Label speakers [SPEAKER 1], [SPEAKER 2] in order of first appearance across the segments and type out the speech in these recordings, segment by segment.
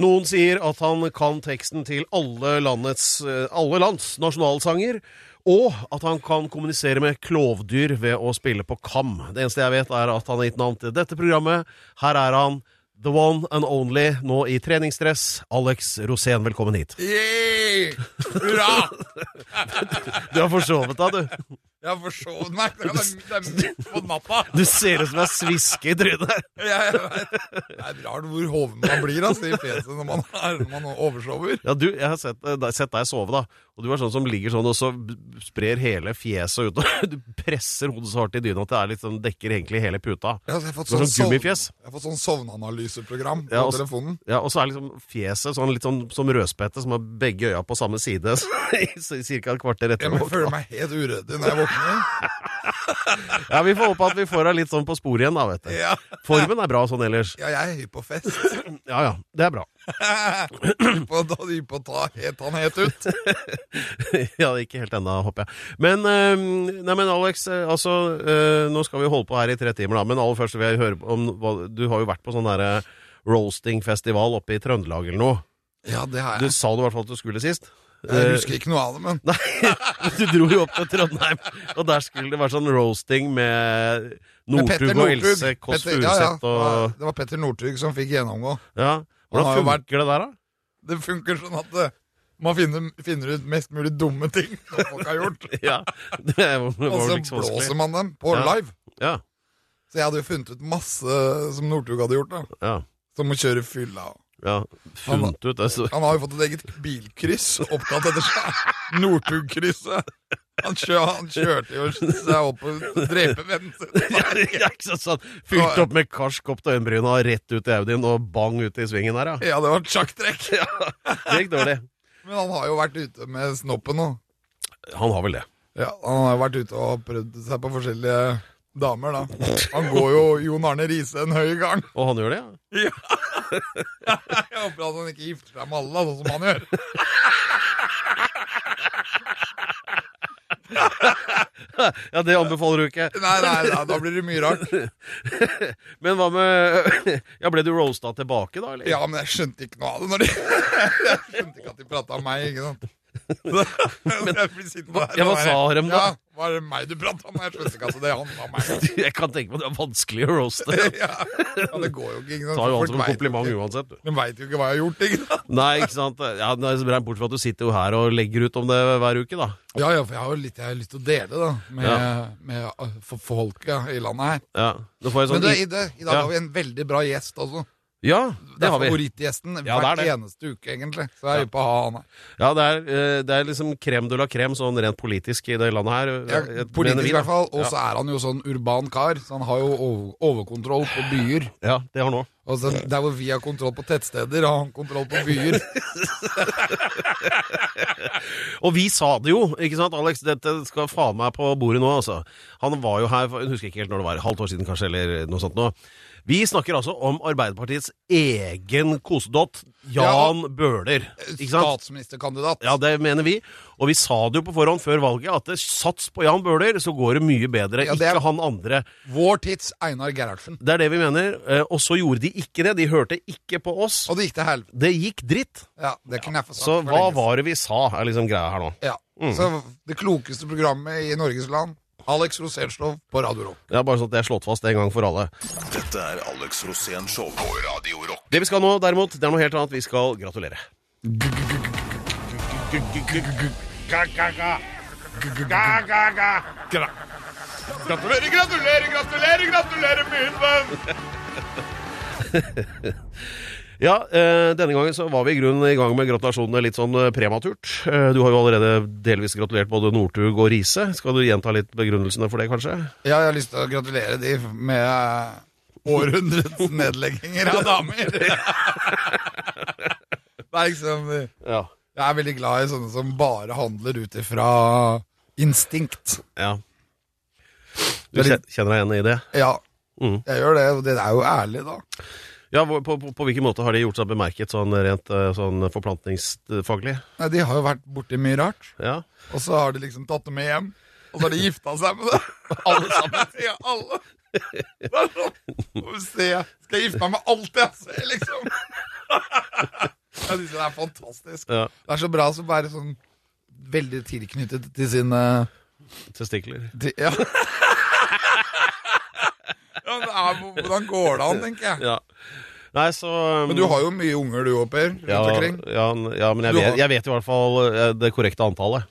[SPEAKER 1] Noen sier at han kan teksten til alle, landets, eh, alle lands nasjonalsanger. Og at han kan kommunisere med klovdyr ved å spille på kam. Det eneste jeg vet, er at han har gitt navn til dette programmet. Her er han, the one and only, nå i treningsdress. Alex Rosén, velkommen hit.
[SPEAKER 2] Yeah! Hurra!
[SPEAKER 1] Du har forsovet deg, du.
[SPEAKER 2] Jeg har forsovet meg. Det er, det er midt på natta.
[SPEAKER 1] Du ser ut som en sviske i trynet.
[SPEAKER 2] Jeg, jeg vet. det er rart hvor hoven man blir altså, i fjeset når man, er, når man oversover.
[SPEAKER 1] Ja, du, jeg har sett, eh, deg- sett deg sove, da. Og du er sånn som ligger sånn og så b- sprer hele fjeset ut. og Du presser hodet så hardt i dyna at det er litt sånn, dekker egentlig hele puta.
[SPEAKER 2] Jeg har, jeg har fått
[SPEAKER 1] Det er
[SPEAKER 2] sånn,
[SPEAKER 1] sånn
[SPEAKER 2] sovn-
[SPEAKER 1] gummifjes.
[SPEAKER 2] jeg har fått sånn sovneanalyseprogram på
[SPEAKER 1] Ja, og-
[SPEAKER 2] telefonen.
[SPEAKER 1] Ja, Og så er liksom fjeset sånn litt sånn som rødspette, som har begge øya på samme side i ca. et kvarter etter.
[SPEAKER 2] Jeg
[SPEAKER 1] våkna.
[SPEAKER 2] føler meg helt uryddig når jeg våkner.
[SPEAKER 1] Ja, Vi får håpe at vi får deg litt sånn på sporet igjen, da, vet du.
[SPEAKER 2] Ja,
[SPEAKER 1] Formen er bra sånn ellers.
[SPEAKER 2] ja jeg er hypp på fest.
[SPEAKER 1] Ja ja, det er bra.
[SPEAKER 2] Hypp på, da- hypp på å ta helt han helt ut.
[SPEAKER 1] Ja, ikke helt ennå, håper jeg. Men, eh, nei, men Alex, eh, altså eh, Nå skal vi holde på her i tre timer, da. Men aller først vil jeg høre om hva- Du har jo vært på sånn derre roastingfestival oppe i Trøndelag eller noe.
[SPEAKER 2] Ja, det har
[SPEAKER 1] Du
[SPEAKER 2] jeg.
[SPEAKER 1] sa du i hvert fall at du skulle sist. Eh,
[SPEAKER 2] Jeg husker ikke noe av det, men
[SPEAKER 1] Nei, du dro jo opp til Trondheim, og der skulle det være sånn roasting med
[SPEAKER 2] men Petter
[SPEAKER 1] Northug og
[SPEAKER 2] Northug-
[SPEAKER 1] Else Kåss
[SPEAKER 2] Petter- ja, ja,
[SPEAKER 1] Furuseth og
[SPEAKER 2] Det var Petter Northug som fikk gjennomgå.
[SPEAKER 1] Ja.
[SPEAKER 2] Han har jo
[SPEAKER 1] Hvordan funker det der, da?
[SPEAKER 2] Det funker sånn at eh, man finner, finner ut mest mulig dumme ting som folk har gjort.
[SPEAKER 1] Ja, det var
[SPEAKER 2] Og
[SPEAKER 1] vel
[SPEAKER 2] så
[SPEAKER 1] ikke så vanskelig.
[SPEAKER 2] blåser man dem på
[SPEAKER 1] Ja.
[SPEAKER 2] live.
[SPEAKER 1] Ja,
[SPEAKER 2] Så jeg hadde jo funnet ut masse som Northug hadde gjort. da
[SPEAKER 1] ja,
[SPEAKER 2] Som å kjøre fylla.
[SPEAKER 1] ja. Funnet ut det. så-
[SPEAKER 2] Han har jo fått et eget bilkryss oppkalt etter seg. Northug-krysset. Han, kjø, han kjørte jo seg opp og drepe vennen sin.
[SPEAKER 1] Ja, det er ikke sånn, sånn. Fylt opp med karsk opp til øyenbryna, rett ut i Audien og bang ut i svingen her, ja.
[SPEAKER 2] Ja, det var et sjakktrekk.
[SPEAKER 1] Det gikk dårlig.
[SPEAKER 2] Men han har jo vært ute med snoppen nå.
[SPEAKER 1] Han har vel det.
[SPEAKER 2] Ja, han har jo vært ute og prøvd seg på forskjellige damer, da. Han går jo Jon Arne Riise en høy gang.
[SPEAKER 1] Og han gjør det, ja.
[SPEAKER 2] Jeg håper at han ikke gifter seg med alle, da, sånn som han gjør.
[SPEAKER 1] Ja, det anbefaler du ikke.
[SPEAKER 2] Nei, nei, nei, da blir det mye rart.
[SPEAKER 1] Men hva med Ja, ble du roasta tilbake, da, eller?
[SPEAKER 2] Ja, men jeg skjønte ikke noe av det når de Jeg skjønte ikke at de prata om meg, ikke sant. jeg blir sittende der,
[SPEAKER 1] ja, hva
[SPEAKER 2] og bare,
[SPEAKER 1] sa dem da?
[SPEAKER 2] Ja, var det meg du prata om? Jeg skjønte ikke at det handla om meg.
[SPEAKER 1] Jeg kan tenke meg at det er vanskelig å roaste. Det
[SPEAKER 2] Ja, ja, det går jo ikke, ikke sant.
[SPEAKER 1] tar jo
[SPEAKER 2] Folk
[SPEAKER 1] alt som en
[SPEAKER 2] vet jo
[SPEAKER 1] kompliment
[SPEAKER 2] ikke-
[SPEAKER 1] uansett, du.
[SPEAKER 2] De veit jo ikke hva jeg har gjort, ikke sant.
[SPEAKER 1] Nei, ikke sant. Ja, det er så bra, Bortsett fra at du sitter jo her og legger ut om det hver uke, da.
[SPEAKER 2] Ja, ja, for jeg har jo litt jeg har lyst til å dele, da, med, med uh, for folket i landet her.
[SPEAKER 1] Ja, Nå får jeg
[SPEAKER 2] Men
[SPEAKER 1] sånn
[SPEAKER 2] du, i, det, i dag
[SPEAKER 1] Ja.
[SPEAKER 2] har vi en veldig bra gjest, altså.
[SPEAKER 1] Ja,
[SPEAKER 2] Det
[SPEAKER 1] det
[SPEAKER 2] er
[SPEAKER 1] har vi.
[SPEAKER 2] favorittgjesten
[SPEAKER 1] Ja, det er
[SPEAKER 2] hver
[SPEAKER 1] det.
[SPEAKER 2] eneste uke, egentlig. Så jeg er hypp på å ha han her.
[SPEAKER 1] Ja, det er, eh, det er liksom krem de la krem, sånn rent politisk i det landet her.
[SPEAKER 2] Ja,
[SPEAKER 1] mener
[SPEAKER 2] politisk
[SPEAKER 1] vi,
[SPEAKER 2] i
[SPEAKER 1] da.
[SPEAKER 2] hvert fall. Og så er han jo sånn urban kar, så han har jo over- overkontroll på byer.
[SPEAKER 1] Ja, det har nå.
[SPEAKER 2] Altså, der hvor vi har kontroll på tettsteder, har han kontroll på byer.
[SPEAKER 1] Og vi sa det jo, ikke sant, Alex? Dette skal faen meg på bordet nå, altså. Han var jo her, for- jeg husker ikke helt når det var, halvt år siden kanskje, eller noe sånt nå. Vi snakker altså om Arbeiderpartiets egen kosedott, Jan Bøhler. Ikke sant?
[SPEAKER 2] Statsministerkandidat.
[SPEAKER 1] Ja, det mener vi. Og vi sa det jo på forhånd før valget, at det sats på Jan Bøhler, så går det mye bedre.
[SPEAKER 2] Ja, det er-
[SPEAKER 1] Ikke han andre.
[SPEAKER 2] Vår tids Einar Gerhardsen.
[SPEAKER 1] Det er det vi mener. Eh, Og så gjorde de ikke det. De hørte ikke på oss.
[SPEAKER 2] Og det gikk til helvete.
[SPEAKER 1] Det gikk dritt.
[SPEAKER 2] Ja, det kunne jeg få sagt.
[SPEAKER 1] Så
[SPEAKER 2] for
[SPEAKER 1] hva
[SPEAKER 2] lenge
[SPEAKER 1] var Mm. det vi sa, er liksom greia her nå.
[SPEAKER 2] siden. ja. Så det klokeste programmet i Norges land, Alex Rosenslov på Radio Rock.
[SPEAKER 1] Det er bare sånn at det er slått fast en gang for alle.
[SPEAKER 3] Dette er Alex Rosén Show på Radio Rock.
[SPEAKER 1] Det vi skal nå, derimot, det er noe helt annet. Vi skal gratulere.
[SPEAKER 2] Gratulerer, gratulerer, gratulerer, gratulerer, min venn!
[SPEAKER 1] Ja, eh, denne gangen så var vi i grunnen i gang med gratulasjonene litt sånn eh, prematurt. Eh, du har jo allerede delvis gratulert både Northug og Riise. Skal du gjenta litt begrunnelsene for det, kanskje?
[SPEAKER 2] Ja, jeg har lyst til å gratulere de med eh, århundrets nedlegginger av damer. Det er liksom Jeg
[SPEAKER 1] Ja.
[SPEAKER 2] er veldig glad i sånne som bare handler ut ifra instinkt.
[SPEAKER 1] ja. Du kjen- kjenner deg igjen i det?
[SPEAKER 2] Ja,
[SPEAKER 1] Mm.
[SPEAKER 2] jeg gjør det, og det er jo ærlig, da.
[SPEAKER 1] Ja, hvor- på, på, på hvilken måte har de gjort seg bemerket sånn rent eh, sånn forplantningsfaglig?
[SPEAKER 2] Nei, De har jo vært borti mye rart,
[SPEAKER 1] Ja.
[SPEAKER 2] og så har de liksom tatt det med hjem. Og så har de gifta seg med det. Alle sammen. Ja, alle. Det er sånn, Skal jeg gifte meg med alt jeg ser, liksom? Jeg synes det er fantastisk.
[SPEAKER 1] Ja.
[SPEAKER 2] Det er så bra å være sånn veldig tilknyttet til sin eh,
[SPEAKER 1] Testikler.
[SPEAKER 2] til, Ja. ja men det er, hvordan går det an, tenker jeg.
[SPEAKER 1] Ja. Nei, så um,
[SPEAKER 2] Men du har jo mye unger du òg, Per. rundt
[SPEAKER 1] ja,
[SPEAKER 2] omkring.
[SPEAKER 1] ja, n- ja, men jeg
[SPEAKER 2] Du
[SPEAKER 1] vet,
[SPEAKER 2] har-
[SPEAKER 1] jeg vet i hvert fall eh, det korrekte antallet.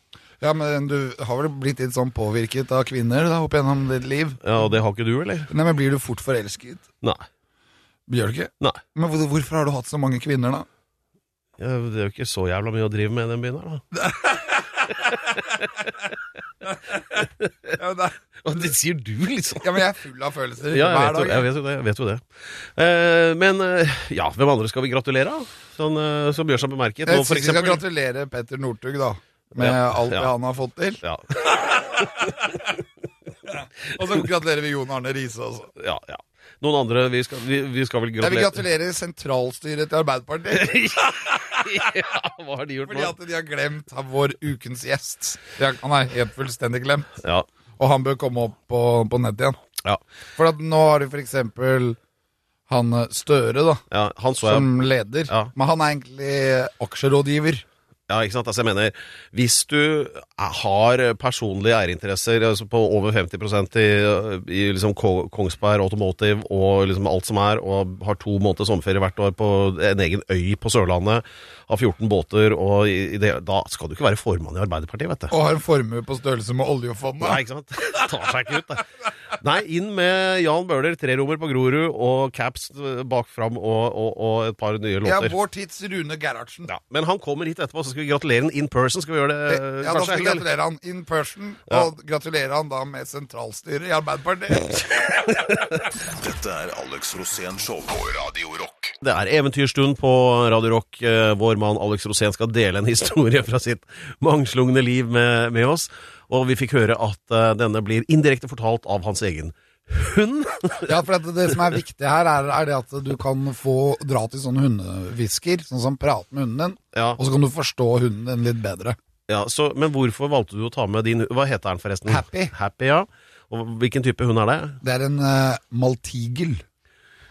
[SPEAKER 2] Ja, men du har vel blitt litt sånn påvirket av kvinner da, opp gjennom ditt liv?
[SPEAKER 1] Ja, Og det har ikke du, eller?
[SPEAKER 2] Nei, men Blir du fort forelsket?
[SPEAKER 1] Nei.
[SPEAKER 2] Gjør du ikke?
[SPEAKER 1] Nei.
[SPEAKER 2] Men hvor- hvorfor har du hatt så mange kvinner, da?
[SPEAKER 1] Ja, Det er jo ikke så jævla mye å drive med i den byen her, da.
[SPEAKER 2] Ja, men,
[SPEAKER 1] Og det sier du, liksom.
[SPEAKER 2] jeg er full av følelser
[SPEAKER 1] Ja, jeg
[SPEAKER 2] hver
[SPEAKER 1] vet, jo,
[SPEAKER 2] dag.
[SPEAKER 1] jeg vet jo det. Jeg vet jo det. Eh, men eh, ja, hvem andre skal vi gratulere, da? Sånn, eh, som gjør seg bemerket.
[SPEAKER 2] Jeg
[SPEAKER 1] Nå, for
[SPEAKER 2] synes vi skal
[SPEAKER 1] eksempel.
[SPEAKER 2] gratulere Petter Northug, da. Med
[SPEAKER 1] Ja,
[SPEAKER 2] alt det
[SPEAKER 1] ja.
[SPEAKER 2] han har fått til.
[SPEAKER 1] Ja,
[SPEAKER 2] Og så gratulerer vi Jon Arne Riise også.
[SPEAKER 1] ja, ja. Noen andre vi skal, vi, vi skal vel
[SPEAKER 2] Jeg vil
[SPEAKER 1] gratulere
[SPEAKER 2] gratulere sentralstyret til Arbeiderpartiet.
[SPEAKER 1] Ja, hva har de gjort
[SPEAKER 2] Fordi
[SPEAKER 1] nå?
[SPEAKER 2] at de har glemt vår ukens gjest. De har- Han er helt fullstendig glemt.
[SPEAKER 1] Ja,
[SPEAKER 2] Og han bør komme opp på, på nett igjen.
[SPEAKER 1] ja,
[SPEAKER 2] For at nå har du for eksempel han eh, Støre, da.
[SPEAKER 1] ja, han så jeg
[SPEAKER 2] Som leder.
[SPEAKER 1] Ja.
[SPEAKER 2] Men han er egentlig eh, aksjerådgiver.
[SPEAKER 1] Ja, ikke sant? Altså, jeg mener, hvis du er- har personlige eierinteresser altså på over 50 i, i liksom Ko- Kongsberg Automotive og liksom alt som er, og har to måneder sommerferie hvert år på en egen øy på Sørlandet, har 14 båter, og i, i det, da skal du ikke være formann i Arbeiderpartiet, vet du.
[SPEAKER 2] Og har en formue på størrelse med oljefondet.
[SPEAKER 1] Nei, ikke sant? Tar seg ikke ut, det. Nei, inn med Jan Bøhler, trerommer på Grorud, og caps eh, bak fram, og, og, og et par nye
[SPEAKER 2] Ja,
[SPEAKER 1] låter.
[SPEAKER 2] vår tids Rune Gerhardsen.
[SPEAKER 1] Ja, men han kommer hit etterpå, så skal vi gratulere han in person. Skal vi gjøre det? eh,
[SPEAKER 2] Ja, da
[SPEAKER 1] kanskje,
[SPEAKER 2] skal vi
[SPEAKER 1] eller?
[SPEAKER 2] gratulere han in person,
[SPEAKER 1] Ja.
[SPEAKER 2] og gratulere han da med sentralstyret i Arbeiderpartiet.
[SPEAKER 3] Dette er Alex Rosén Show på Radio Rock.
[SPEAKER 1] Det er eventyrstund på Radio Rock. Eh, Vår mann Alex Rosén skal dele en historie fra sitt mangslungne liv med, med oss. Og vi fikk høre at eh, denne blir indirekte fortalt av hans egen hund.
[SPEAKER 2] Ja, for det, det som er viktig her, er, er det at du kan få dra til sånne hundehvisker, sånn som prater med hunden din,
[SPEAKER 1] Ja,
[SPEAKER 2] og så kan du forstå hunden din litt bedre.
[SPEAKER 1] ja så, Men hvorfor valgte du å ta med din Hva heter den forresten?
[SPEAKER 2] Happy.
[SPEAKER 1] Happy, ja. Og hvilken type hund er det?
[SPEAKER 2] Det er en eh, maltigel.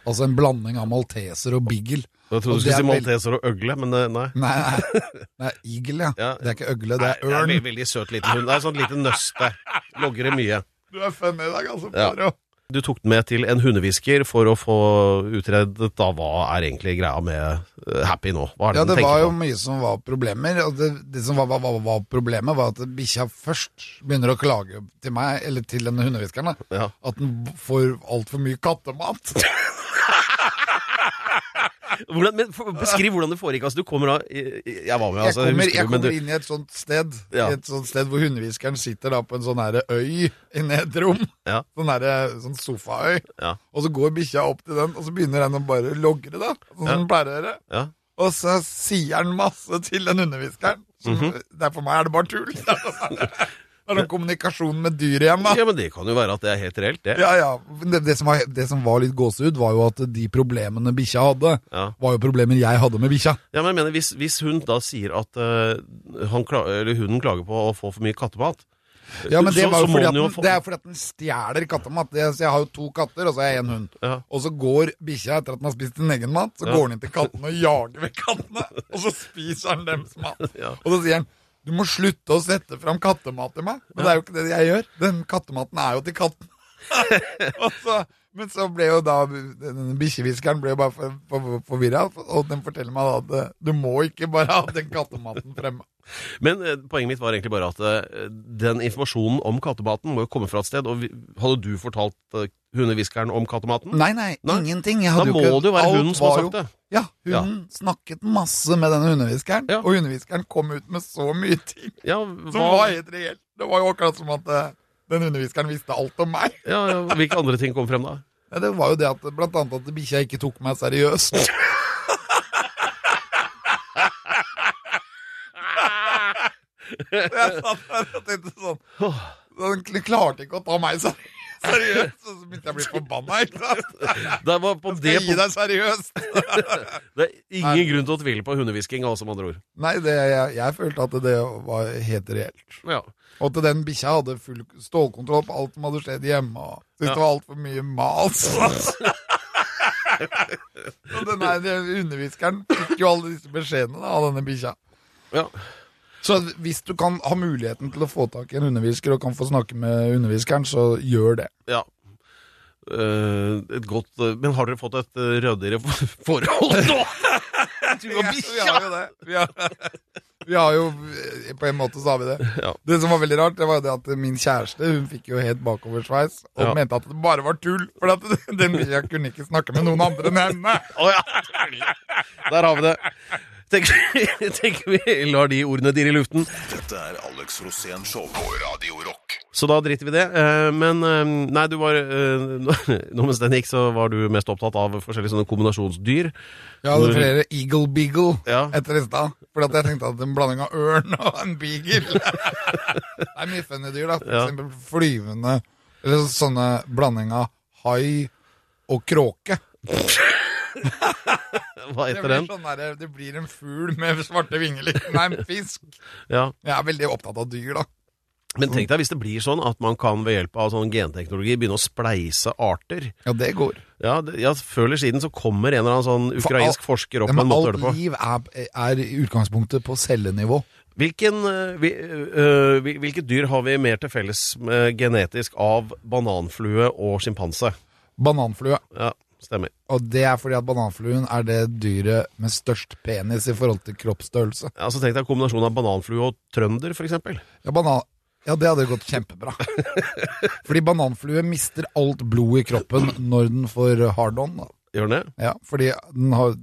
[SPEAKER 2] Altså en blanding av malteser og beagle.
[SPEAKER 1] Jeg trodde
[SPEAKER 2] Og
[SPEAKER 1] du skulle
[SPEAKER 2] det er
[SPEAKER 1] si
[SPEAKER 2] veld-
[SPEAKER 1] malteser og øgle, men eh, nei.
[SPEAKER 2] Nei, nei, det er eagle, ja.
[SPEAKER 1] Ja.
[SPEAKER 2] Det er ikke øgle, det
[SPEAKER 1] Nei, det
[SPEAKER 2] er
[SPEAKER 1] er en
[SPEAKER 2] ørn.
[SPEAKER 1] veldig, veldig søt liten hund. Det er en sånn liten nøste. Logrer mye.
[SPEAKER 2] Du er funny i dag, altså.
[SPEAKER 1] Ja.
[SPEAKER 2] Pedro.
[SPEAKER 1] Du tok den med til en hundehvisker for å få utredet da hva er egentlig greia med eh, Happy nå. Hva er det
[SPEAKER 2] Ja,
[SPEAKER 1] den
[SPEAKER 2] det var
[SPEAKER 1] tenker
[SPEAKER 2] jo mye som var problemer. Og det, det som var, var, var, var problemet, var at bikkja først begynner å klage til meg, eller til denne hundehviskeren, da,
[SPEAKER 1] på? Ja.
[SPEAKER 2] at den b- får altfor mye kattemat.
[SPEAKER 1] Hvordan, men for- beskriv hvordan det foregikk. Altså, du kommer da i- i- Jeg var med,
[SPEAKER 2] Jeg
[SPEAKER 1] altså.
[SPEAKER 2] kommer,
[SPEAKER 1] husker
[SPEAKER 2] jeg
[SPEAKER 1] du, men
[SPEAKER 2] kommer inn i et sånt sted
[SPEAKER 1] Ja.
[SPEAKER 2] I et sånt sted hvor hundehviskeren sitter da på en sånn her øy inni et rom.
[SPEAKER 1] Ja.
[SPEAKER 2] Sånn, her, sånn sofaøy.
[SPEAKER 1] Ja.
[SPEAKER 2] Og så går bikkja opp til den, og så begynner den å bare logre, da.
[SPEAKER 1] Ja.
[SPEAKER 2] Sånn som den pleier å gjøre.
[SPEAKER 1] Ja.
[SPEAKER 2] Og så sier han masse til den hundehviskeren. som-
[SPEAKER 1] Mhm.
[SPEAKER 2] det er For meg er det bare tull. Det er noen kommunikasjon med dyret igjen, da.
[SPEAKER 1] ja, men det kan jo være at det er helt reelt, det.
[SPEAKER 2] Ja, ja. Men Det, det, som, var, det som var litt gåsehud, var jo at de problemene bikkja hadde,
[SPEAKER 1] Ja.
[SPEAKER 2] var jo problemer jeg hadde med bikkja.
[SPEAKER 1] Ja, men jeg mener, hvis, hvis hun da sier at eh, han kla eller hunden klager på å få for mye kattemat
[SPEAKER 2] Ja, men det,
[SPEAKER 1] Så-
[SPEAKER 2] var jo
[SPEAKER 1] så må
[SPEAKER 2] fordi at
[SPEAKER 1] den jo
[SPEAKER 2] den,
[SPEAKER 1] få-
[SPEAKER 2] det er fordi at den stjeler kattemat. Det, så jeg har jo to katter, og så har jeg én hund.
[SPEAKER 1] Ja.
[SPEAKER 2] Og så går bikkja etter at den har spist sin egen mat, så
[SPEAKER 1] Ja.
[SPEAKER 2] går den inn til kattene og jager vekk kattene. Og så spiser han deres mat.
[SPEAKER 1] Ja.
[SPEAKER 2] Og så sier han du må slutte å sette fram kattemat til meg. Men det er jo ikke det jeg gjør. Den kattematen er jo til katten. og så, men så ble jo da denne bikkjehviskeren ble jo bare for, for, forvirra, og den forteller meg da at eh, du må ikke bare ha den kattematen fremme.
[SPEAKER 1] Men eh, poenget mitt var egentlig bare at eh, den informasjonen om kattematen må jo komme fra et sted. Og vi, hadde du fortalt eh, hundehviskeren om kattematen?
[SPEAKER 2] Nei, nei,
[SPEAKER 1] Nei.
[SPEAKER 2] ingenting. Jeg
[SPEAKER 1] Da
[SPEAKER 2] hadde
[SPEAKER 1] må
[SPEAKER 2] jo ikke,
[SPEAKER 1] det jo være
[SPEAKER 2] alt
[SPEAKER 1] hunden som
[SPEAKER 2] var
[SPEAKER 1] har
[SPEAKER 2] jo-
[SPEAKER 1] sagt det.
[SPEAKER 2] Ja, hunden snakket masse med denne hundehviskeren,
[SPEAKER 1] Ja.
[SPEAKER 2] og hundehviskeren kom ut med så mye ting
[SPEAKER 1] Ja,
[SPEAKER 2] som
[SPEAKER 1] hva,
[SPEAKER 2] var helt reelt. Det var jo akkurat som at eh, den hundehviskeren visste alt om meg.
[SPEAKER 1] ja, ja, hvilke andre ting kom frem da?
[SPEAKER 2] Ja, Det var jo det at blant annet at bikkja ikke tok meg seriøst. Jeg satt der og tenkte sånn Den kl- klarte ikke å ta meg seri- seriøst, og så begynte jeg å bli forbanna. ikke sant?
[SPEAKER 1] Det var på det
[SPEAKER 2] Skal jeg gi
[SPEAKER 1] punkt-
[SPEAKER 2] deg seriøst?
[SPEAKER 1] det er ingen grunn til å tvile på hundehvisking, altså, med andre ord.
[SPEAKER 2] Nei, det, jeg, jeg følte at det var helt reelt.
[SPEAKER 1] Ja.
[SPEAKER 2] Og at den bikkja hadde full stålkontroll på alt som hadde skjedd hjemme. Og
[SPEAKER 1] Ja.
[SPEAKER 2] syntes det var altfor mye mas. Og den her underviskeren fikk jo alle disse beskjedene da, av denne bikkja.
[SPEAKER 1] Ja.
[SPEAKER 2] Så hvis du kan ha muligheten til å få tak i en undervisker og kan få snakke med underviskeren, så gjør det.
[SPEAKER 1] ja. Eh, et godt eh, Men har dere fått et eh, ryddigere for- forhold nå? Du og
[SPEAKER 2] Vi
[SPEAKER 1] bikkja!
[SPEAKER 2] har jo det. Vi har, vi har jo eh, På en måte så har vi det.
[SPEAKER 1] Ja.
[SPEAKER 2] Det som var veldig rart, det var jo det at min kjæreste hun fikk jo helt bakoversveis og
[SPEAKER 1] Ja.
[SPEAKER 2] mente at det bare var tull. For at den bikkja kunne ikke snakke med noen andre enn henne.
[SPEAKER 1] Å ja. Der har vi det. Tenker, tenker vi lar de ordene dirre i luften.
[SPEAKER 3] Dette er Alex Rosén Show på Radio Rock.
[SPEAKER 1] Så da driter vi i det. Eh, Men eh, nei, du var eh, Nå mens den gikk, så var du mest opptatt av forskjellige sånne kombinasjonsdyr.
[SPEAKER 2] Jeg hadde flere Eagle Beagle
[SPEAKER 1] Ja.
[SPEAKER 2] etter i stad. For at jeg tenkte at en blanding av ørn og en beagle Det er mye funny dyr, da. For
[SPEAKER 1] Ja.
[SPEAKER 2] eksempel flyvende Eller sånne blanding av hai og kråke.
[SPEAKER 1] Hva
[SPEAKER 2] Det
[SPEAKER 1] heter
[SPEAKER 2] blir,
[SPEAKER 1] den?
[SPEAKER 2] sånn der, det blir en fugl med svarte vinger. liksom. Nei, en fisk.
[SPEAKER 1] Ja.
[SPEAKER 2] Jeg er veldig opptatt av dyr, da.
[SPEAKER 1] Men
[SPEAKER 2] Mm.
[SPEAKER 1] tenk deg hvis det blir sånn at man kan ved hjelp av sånn genteknologi begynne å spleise arter.
[SPEAKER 2] Ja, det går.
[SPEAKER 1] Ja, det, ja Før eller siden så kommer en eller annen sånn ukrainsk forsker opp med en
[SPEAKER 2] Men
[SPEAKER 1] måte å
[SPEAKER 2] alt
[SPEAKER 1] gjøre det på.
[SPEAKER 2] liv er, er i utgangspunktet på cellenivå.
[SPEAKER 1] Hvilken, eh, vi- eh, hvil- hvilket dyr har vi mer til felles med genetisk av bananflue og sjimpanse?
[SPEAKER 2] Bananflue.
[SPEAKER 1] Ja, stemmer.
[SPEAKER 2] Og det er fordi at bananfluen er det dyret med størst penis i forhold til kroppsstørrelse.
[SPEAKER 1] Ja, så tenk deg kombinasjonen av bananflue og trønder, for eksempel.
[SPEAKER 2] Ja, banan... ja, det hadde gått kjempebra. Fordi bananflue mister alt blod i kroppen når den får hard on. Da.
[SPEAKER 1] Gjør den det?
[SPEAKER 2] Ja, fordi den har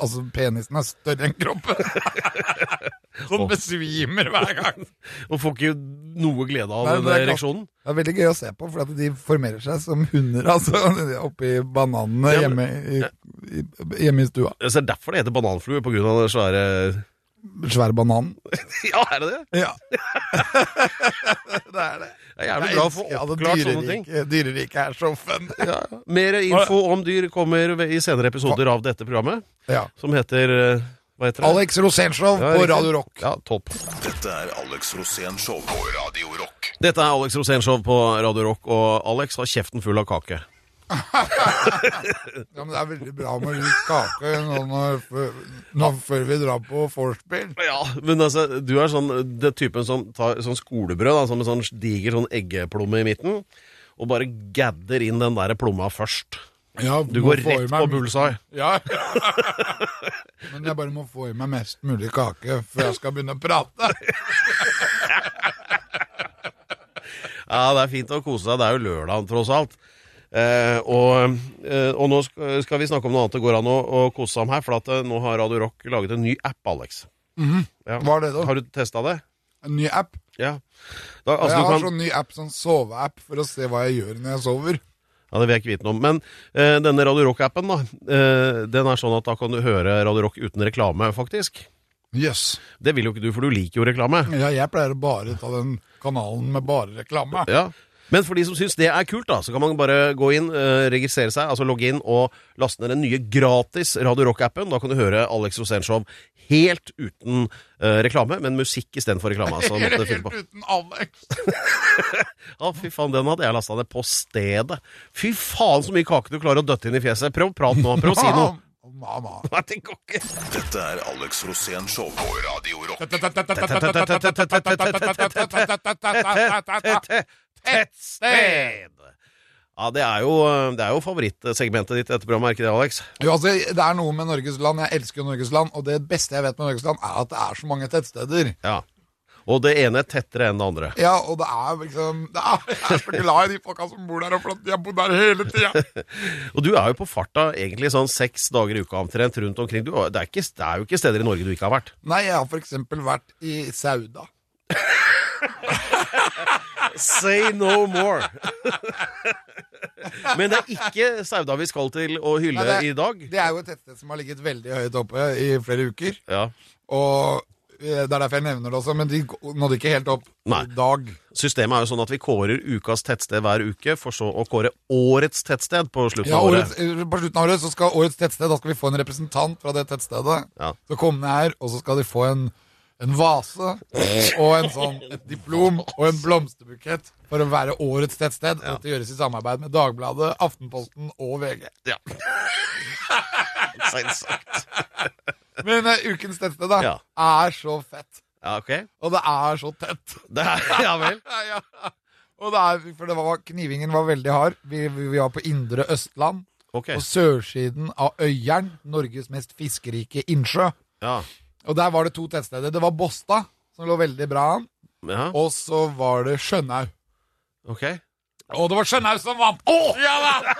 [SPEAKER 2] Altså, penisen er større enn kroppen. Så den besvimer hver gang.
[SPEAKER 1] Og får ikke noe glede av
[SPEAKER 2] Nei,
[SPEAKER 1] den
[SPEAKER 2] men det er klart.
[SPEAKER 1] ereksjonen.
[SPEAKER 2] Det er veldig gøy å se på, for at de formerer seg som hunder altså, oppi bananene
[SPEAKER 1] Ja,
[SPEAKER 2] hjemme i, i, hjemme i stua.
[SPEAKER 1] Så det er derfor det heter bananflue, på grunn av det svære
[SPEAKER 2] Svær banan.
[SPEAKER 1] Ja, er det det?
[SPEAKER 2] Ja. det er det.
[SPEAKER 1] Jeg er jævlig glad for å få oppklart sånne ting.
[SPEAKER 2] Dyreriket er så fun.
[SPEAKER 1] Ja. Mer info om dyr kommer ved- i senere episoder av dette programmet,
[SPEAKER 2] Ja.
[SPEAKER 1] som heter eh, Hva heter det?
[SPEAKER 2] Alex Rosenshov
[SPEAKER 1] Ja,
[SPEAKER 2] på
[SPEAKER 1] riktig.
[SPEAKER 2] Radio Rock.
[SPEAKER 1] Ja, topp.
[SPEAKER 3] Dette er Alex Rosén Show på Radio Rock.
[SPEAKER 1] Dette er Alex Rosénshow på Radio Rock, og Alex har kjeften full av kake.
[SPEAKER 2] Ja, men Det er veldig bra med litt kake nå, når, før, nå før vi drar på vorspiel.
[SPEAKER 1] Ja, men altså, du er sånn den typen som tar sånn skolebrød, da, som en sånn diger sånn eggeplomme i midten, og bare gadder inn den der plomma først.
[SPEAKER 2] Ja,
[SPEAKER 1] Du går rett på bullseye.
[SPEAKER 2] Ja. men jeg bare må få i meg mest mulig kake før jeg skal begynne å prate.
[SPEAKER 1] Ja, det er fint å kose seg. Det er jo lørdag, tross alt. Eh, og, eh, og nå sk- skal vi snakke om noe annet det går an å, å kose seg om her, for at eh, nå har Radio Rock laget en ny app, Alex. Ja.
[SPEAKER 2] Hva er det da?
[SPEAKER 1] Har du testa det?
[SPEAKER 2] En ny app.
[SPEAKER 1] Ja. Da, altså, du
[SPEAKER 2] jeg har
[SPEAKER 1] kan...
[SPEAKER 2] sånn ny app, sånn soveapp, for å se hva jeg gjør når jeg sover.
[SPEAKER 1] Ja, Det vil jeg ikke vite noe om. Men eh, denne Radio Rock-appen da, eh, den er sånn at da kan du høre Radio Rock uten reklame, faktisk.
[SPEAKER 2] Jøss.
[SPEAKER 1] Det vil jo ikke du, for du liker jo reklame.
[SPEAKER 2] Ja, jeg pleier å bare ta den kanalen med bare reklame.
[SPEAKER 1] Ja. Men for de som syns det er kult, da, så kan man bare gå inn, eh, registrere seg, altså logge inn og laste ned den nye gratis Radio Rock-appen. Da kan du høre Alex Rosénshow helt uten eh, reklame, men musikk istedenfor reklame. Altså, måtte du finne
[SPEAKER 2] Helt
[SPEAKER 1] på.
[SPEAKER 2] uten Alex.
[SPEAKER 1] Ja, fy faen, den hadde jeg lasta ned på stedet. Fy faen så mye kake du klarer å døtte inn i fjeset. Prøv å prate nå. Prøv å si noe.
[SPEAKER 2] Mamma.
[SPEAKER 1] Nei, det går ikke.
[SPEAKER 3] Dette er Alex Rosén Show på Radio Rock.
[SPEAKER 1] Tettsted! Ja, det er jo, det er jo favorittsegmentet ditt i dette programmet, er ikke det, Alex?
[SPEAKER 2] Jo, altså, det er noe med Norges land. Jeg elsker jo Norges land, og det beste jeg vet med Norges land, er at det er så mange tettsteder.
[SPEAKER 1] Ja. Og det ene er tettere enn det andre.
[SPEAKER 2] Ja, og det er liksom det er, Jeg er så glad i de folka som bor der, og for at de har bodd der hele tida.
[SPEAKER 1] Og du er jo på farta egentlig sånn seks dager i uka omtrent rundt omkring. Du, det, er ikke, det er jo ikke steder i Norge du ikke har vært.
[SPEAKER 2] Nei, jeg har for eksempel vært i Sauda.
[SPEAKER 1] Say no more! Men det er ikke Sauda vi skal til å hylle
[SPEAKER 2] Nei,
[SPEAKER 1] i dag.
[SPEAKER 2] Det er jo et tettsted som har ligget veldig høyt oppe i flere uker.
[SPEAKER 1] Ja.
[SPEAKER 2] Og eh, det er derfor jeg nevner det også, men de g- nådde ikke helt opp
[SPEAKER 1] Nei.
[SPEAKER 2] i dag.
[SPEAKER 1] Systemet er jo sånn at vi kårer ukas tettsted hver uke, for så å kåre årets tettsted på slutten
[SPEAKER 2] Ja,
[SPEAKER 1] av året.
[SPEAKER 2] årets, eh, på slutten av året så skal årets tettsted Da skal vi få en representant fra det tettstedet
[SPEAKER 1] Ja.
[SPEAKER 2] Så komme her, og så skal de få en en vase og en sånn, et diplom og en blomsterbukett for å være årets tettsted. og Dette gjøres i samarbeid med Dagbladet, Aftenposten og VG.
[SPEAKER 1] Ja. Seint sagt.
[SPEAKER 2] Men eh, ukens tettsted da,
[SPEAKER 1] Ja.
[SPEAKER 2] er så fett.
[SPEAKER 1] Ja, ok.
[SPEAKER 2] Og det er så tett.
[SPEAKER 1] Det er, ja vel.
[SPEAKER 2] ja. Og det er, for det var, knivingen var veldig hard. Vi, vi vi var på indre Østland.
[SPEAKER 1] Ok.
[SPEAKER 2] På sørsiden av Øyeren, Norges mest fiskerike innsjø.
[SPEAKER 1] Ja.
[SPEAKER 2] Og der var det to tettsteder. Det var Båstad, som lå veldig bra an.
[SPEAKER 1] ja.
[SPEAKER 2] Og så var det Skjønhaug.
[SPEAKER 1] Ok.
[SPEAKER 2] Og det var Skjønhaug som vant! Ja da!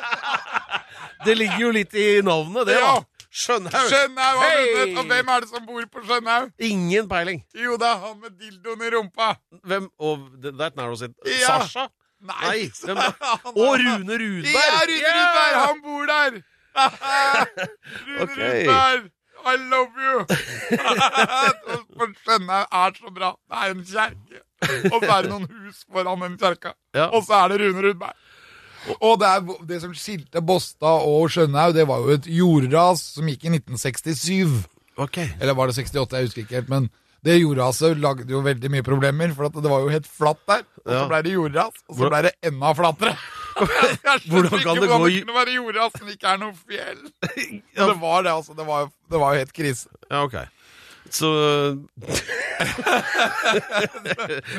[SPEAKER 1] Det ligger jo litt i navnet, det,
[SPEAKER 2] Ja.
[SPEAKER 1] da. Skjønner du?
[SPEAKER 2] Skjønhaug har
[SPEAKER 1] Hei!
[SPEAKER 2] vunnet! Og hvem er det som bor på Skjønhaug?
[SPEAKER 1] Ingen peiling.
[SPEAKER 2] Jo, det er han med dildoen i rumpa.
[SPEAKER 1] Hvem Og that narrows it.
[SPEAKER 2] Ja.
[SPEAKER 1] Sasha?
[SPEAKER 2] Nei!
[SPEAKER 1] Nei. Hvem,
[SPEAKER 2] Han er-
[SPEAKER 1] og Rune Rudberg!
[SPEAKER 2] Ja, Rune Rudberg! Han bor der! Rune
[SPEAKER 1] Ok.
[SPEAKER 2] Rudberg! I love you! For Skjønhaug er så bra. Det er en kjerke. Og så er det noen hus foran den kjerka.
[SPEAKER 1] Ja.
[SPEAKER 2] Og så er det Rune Rudberg. Og det, er, det som skilte Båstad og Skjønhaug, det var jo et jordras som gikk i 1967.
[SPEAKER 1] Ok.
[SPEAKER 2] Eller var det 68? Jeg husker ikke helt. Men det jordraset lagde jo veldig mye problemer, for at det var jo helt flatt der. Og så
[SPEAKER 1] Ja.
[SPEAKER 2] blei det jordras, og så
[SPEAKER 1] Hvordan-
[SPEAKER 2] blei det enda flattere. Jeg skjønner
[SPEAKER 1] Hvordan
[SPEAKER 2] ikke
[SPEAKER 1] kan det
[SPEAKER 2] hvordan
[SPEAKER 1] gå i-
[SPEAKER 2] det kunne være jordras når det ikke er noe fjell?
[SPEAKER 1] Ja.
[SPEAKER 2] Det var det, altså. Det var, jo- det var jo helt krise.
[SPEAKER 1] Ja, ok. Så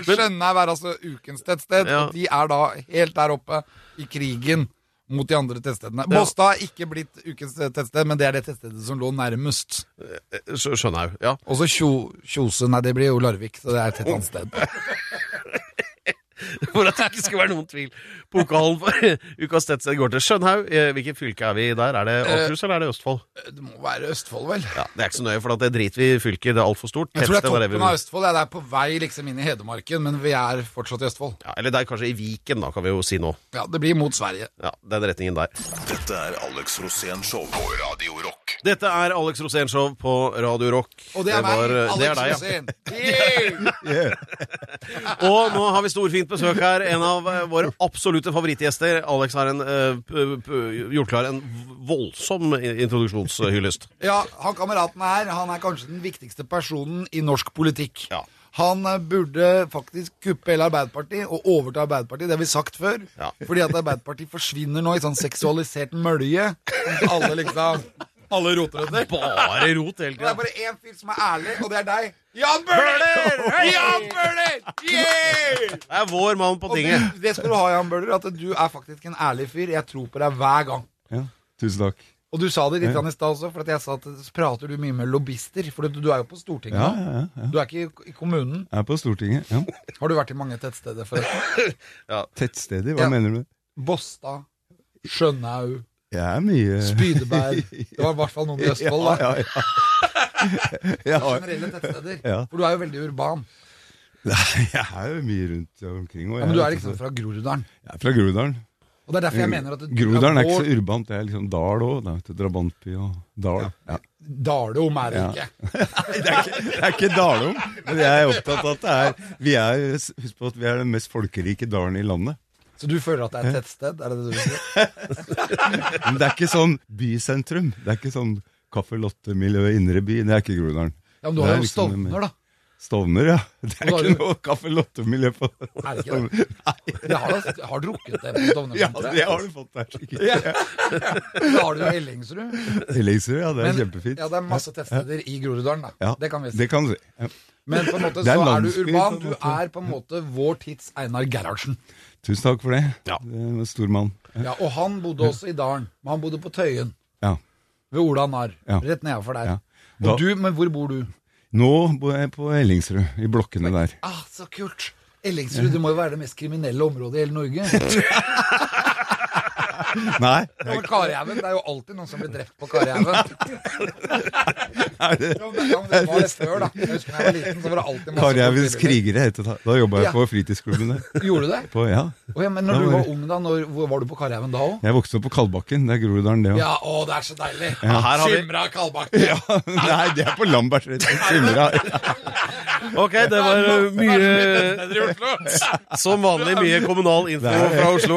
[SPEAKER 2] Skjønhaug er altså ukens tettsted,
[SPEAKER 1] Ja.
[SPEAKER 2] og de er da helt der oppe i krigen. Mot de andre tettstedene.
[SPEAKER 1] Ja.
[SPEAKER 2] Båstad er ikke blitt ukens tettsted, men det er det tettstedet som lå nærmest.
[SPEAKER 1] skjø- Skjønner jeg. Ja.
[SPEAKER 2] Og så Kjo- Kjose, nei, det blir jo Larvik, så det er et helt annet sted.
[SPEAKER 1] For at det ikke skal være noen tvil. Pokalen for ukas tettsted går til Skjønhaug. Eh, Hvilket fylke er vi i der? Er det
[SPEAKER 2] Eh,
[SPEAKER 1] Akershus eller er det Østfold?
[SPEAKER 2] Det må være Østfold, vel?
[SPEAKER 1] Ja, Det er ikke så nøye, for at det driter vi i fylket. Det er altfor stort.
[SPEAKER 2] Jeg tror det er
[SPEAKER 1] Tettsted var vi
[SPEAKER 2] toppen av Østfold. Ja, det er på vei liksom inn i Hedmarken, men vi er fortsatt i Østfold.
[SPEAKER 1] ja, Eller det er kanskje i Viken, da, kan vi jo si nå.
[SPEAKER 2] Ja, Det blir mot Sverige.
[SPEAKER 1] Ja, Den retningen der.
[SPEAKER 3] Dette er Alex Rosén Show på Radio Rock.
[SPEAKER 1] Dette er Alex Rosénshow på Radio Rock.
[SPEAKER 2] Og det er meg,
[SPEAKER 1] var-
[SPEAKER 2] Alex
[SPEAKER 1] det er deg, ja.
[SPEAKER 2] Rosén. Yeah!
[SPEAKER 1] Og nå har vi storfint besøk her. En av eh, våre absolutte favorittgjester. Alex har en, eh, p- p- gjort klar en voldsom i- introduksjonshyllest.
[SPEAKER 2] Ja, han kameraten her, han er kanskje den viktigste personen i norsk politikk.
[SPEAKER 1] Ja.
[SPEAKER 2] Han eh, burde faktisk kuppe hele Arbeiderpartiet og overta Arbeiderpartiet. Det har vi sagt før.
[SPEAKER 1] Ja.
[SPEAKER 2] Fordi at Arbeiderpartiet forsvinner nå i sånn seksualisert mølje. som Alle liksom Alle roter etter.
[SPEAKER 1] Bare rot hele
[SPEAKER 2] Og det
[SPEAKER 1] tida.
[SPEAKER 2] er bare én fyr som er ærlig, og det er deg. Jan Bøhler! Jan Bøhler! Yeah!
[SPEAKER 1] Det er vår mann på
[SPEAKER 2] Og
[SPEAKER 1] tinget.
[SPEAKER 2] du, det skal du ha, Jan Bøhler, at du er faktisk en ærlig fyr. Jeg tror på deg hver gang.
[SPEAKER 4] Ja, tusen takk.
[SPEAKER 2] Og du sa det litt grann i stad også, for at jeg sa at så prater du mye med lobbyster. For du, du er jo på Stortinget.
[SPEAKER 4] Ja,
[SPEAKER 2] nå.
[SPEAKER 4] ja, ja.
[SPEAKER 2] Du er ikke i- i kommunen.
[SPEAKER 4] Jeg er på Stortinget. Ja.
[SPEAKER 2] Har du vært i mange tettsteder? forresten?
[SPEAKER 4] Tettsteder, hva
[SPEAKER 2] Ja.
[SPEAKER 4] mener du?
[SPEAKER 2] Båstad, Skjønhaug,
[SPEAKER 4] Jeg er mye
[SPEAKER 2] Spydeberg Det var i hvert fall noen i Østfold, da.
[SPEAKER 4] Ja, ja, ja. Jeg, har,
[SPEAKER 2] Generelle tettsteder.
[SPEAKER 4] Ja.
[SPEAKER 2] For du er jo veldig urban.
[SPEAKER 4] Nei, jeg er jo mye rundt omkring. Og
[SPEAKER 2] Ja,
[SPEAKER 4] jeg,
[SPEAKER 2] men du er liksom fra Groruddalen.
[SPEAKER 4] jeg er fra Groruddalen.
[SPEAKER 2] Og det er derfor jeg mener at du
[SPEAKER 4] Mm. Groruddalen er ikke så urbant. Det er liksom dal òg. Drabantby og dal. Ja.
[SPEAKER 2] Dalom er det ikke.
[SPEAKER 4] Det er ikke dalom, men jeg er opptatt av at det er vi er, Husk på at vi er den mest folkerike dalen i landet.
[SPEAKER 2] Så du føler at det er et tettsted? Er det det du sier?
[SPEAKER 4] Men det er ikke sånn bysentrum. Det er ikke sånn Kaffe Lotte-miljø, indre by. Det er ikke Groruddalen.
[SPEAKER 2] Ja, men du har
[SPEAKER 4] Det er
[SPEAKER 2] jo
[SPEAKER 4] liksom
[SPEAKER 2] Stovner,
[SPEAKER 4] mer-
[SPEAKER 2] da.
[SPEAKER 4] Stovner, ja. Det
[SPEAKER 2] Og
[SPEAKER 4] er
[SPEAKER 2] da er
[SPEAKER 4] ikke
[SPEAKER 2] du-
[SPEAKER 4] noe Kaffe Lotte-miljø på
[SPEAKER 2] Er det ikke det?
[SPEAKER 4] Stovner. Nei,
[SPEAKER 2] Jeg har, da- har drukket det på Stovner.
[SPEAKER 4] ja,
[SPEAKER 2] senteret.
[SPEAKER 4] det har du fått der, sikkert.
[SPEAKER 2] Da har du jo Ellingsrud.
[SPEAKER 4] Ellingsrud, ja, det er
[SPEAKER 2] Men-
[SPEAKER 4] kjempefint.
[SPEAKER 2] Ja, det er masse tettsteder i Groruddalen, da.
[SPEAKER 4] Ja,
[SPEAKER 2] Det kan vi si.
[SPEAKER 4] Det kan du si. Ja.
[SPEAKER 2] Men på en måte
[SPEAKER 4] Det
[SPEAKER 2] så
[SPEAKER 4] er
[SPEAKER 2] er du
[SPEAKER 4] landsby,
[SPEAKER 2] urban.
[SPEAKER 4] på en
[SPEAKER 2] Du
[SPEAKER 4] måte.
[SPEAKER 2] er på en måte vår tids Einar Gerhardsen.
[SPEAKER 4] Tusen takk for det.
[SPEAKER 1] Ja.
[SPEAKER 4] Det var en stor mann.
[SPEAKER 2] Ja, og han bodde også i dalen. Men han bodde på Tøyen,
[SPEAKER 4] Ja.
[SPEAKER 2] ved Ola Narr.
[SPEAKER 4] Ja.
[SPEAKER 2] Rett nedafor der.
[SPEAKER 4] Ja. Da-
[SPEAKER 2] Og du, men hvor bor du?
[SPEAKER 4] Nå bor jeg på Ellingsrud, i blokkene der.
[SPEAKER 2] Ah, så kult! Ellingsrud, det må jo være det mest kriminelle området i hele Norge.
[SPEAKER 4] Nei,
[SPEAKER 2] Ja, men Karihaugen, det er jo alltid noen som blir drept på Karihaugen.
[SPEAKER 4] er det
[SPEAKER 2] Ja, men ja, men det var det før, da. Jeg husker da jeg var liten, så var det alltid masse
[SPEAKER 4] Karjevens
[SPEAKER 2] fortvillinger.
[SPEAKER 4] krigere heter det. Da
[SPEAKER 2] Ja.
[SPEAKER 4] jobba jeg på fritidsklubben der.
[SPEAKER 2] Gjorde du det?
[SPEAKER 4] På, ja.
[SPEAKER 2] Å ja, men når
[SPEAKER 4] Da
[SPEAKER 2] du
[SPEAKER 4] var
[SPEAKER 2] var
[SPEAKER 4] det-
[SPEAKER 2] ung, da, når, hvor var du på Karihaugen da òg?
[SPEAKER 4] Jeg vokste opp på Kalbakken. Det er Groruddalen, det òg.
[SPEAKER 2] Ja, å, det er så deilig!
[SPEAKER 1] Ja, her har vi-
[SPEAKER 2] Skimra Kalbakken!
[SPEAKER 4] Nei, det er på Lambertseter. Simra.
[SPEAKER 1] Ok, det var eh, mye
[SPEAKER 2] Bedre i Oslo!
[SPEAKER 1] Som vanlig mye kommunal info fra Oslo.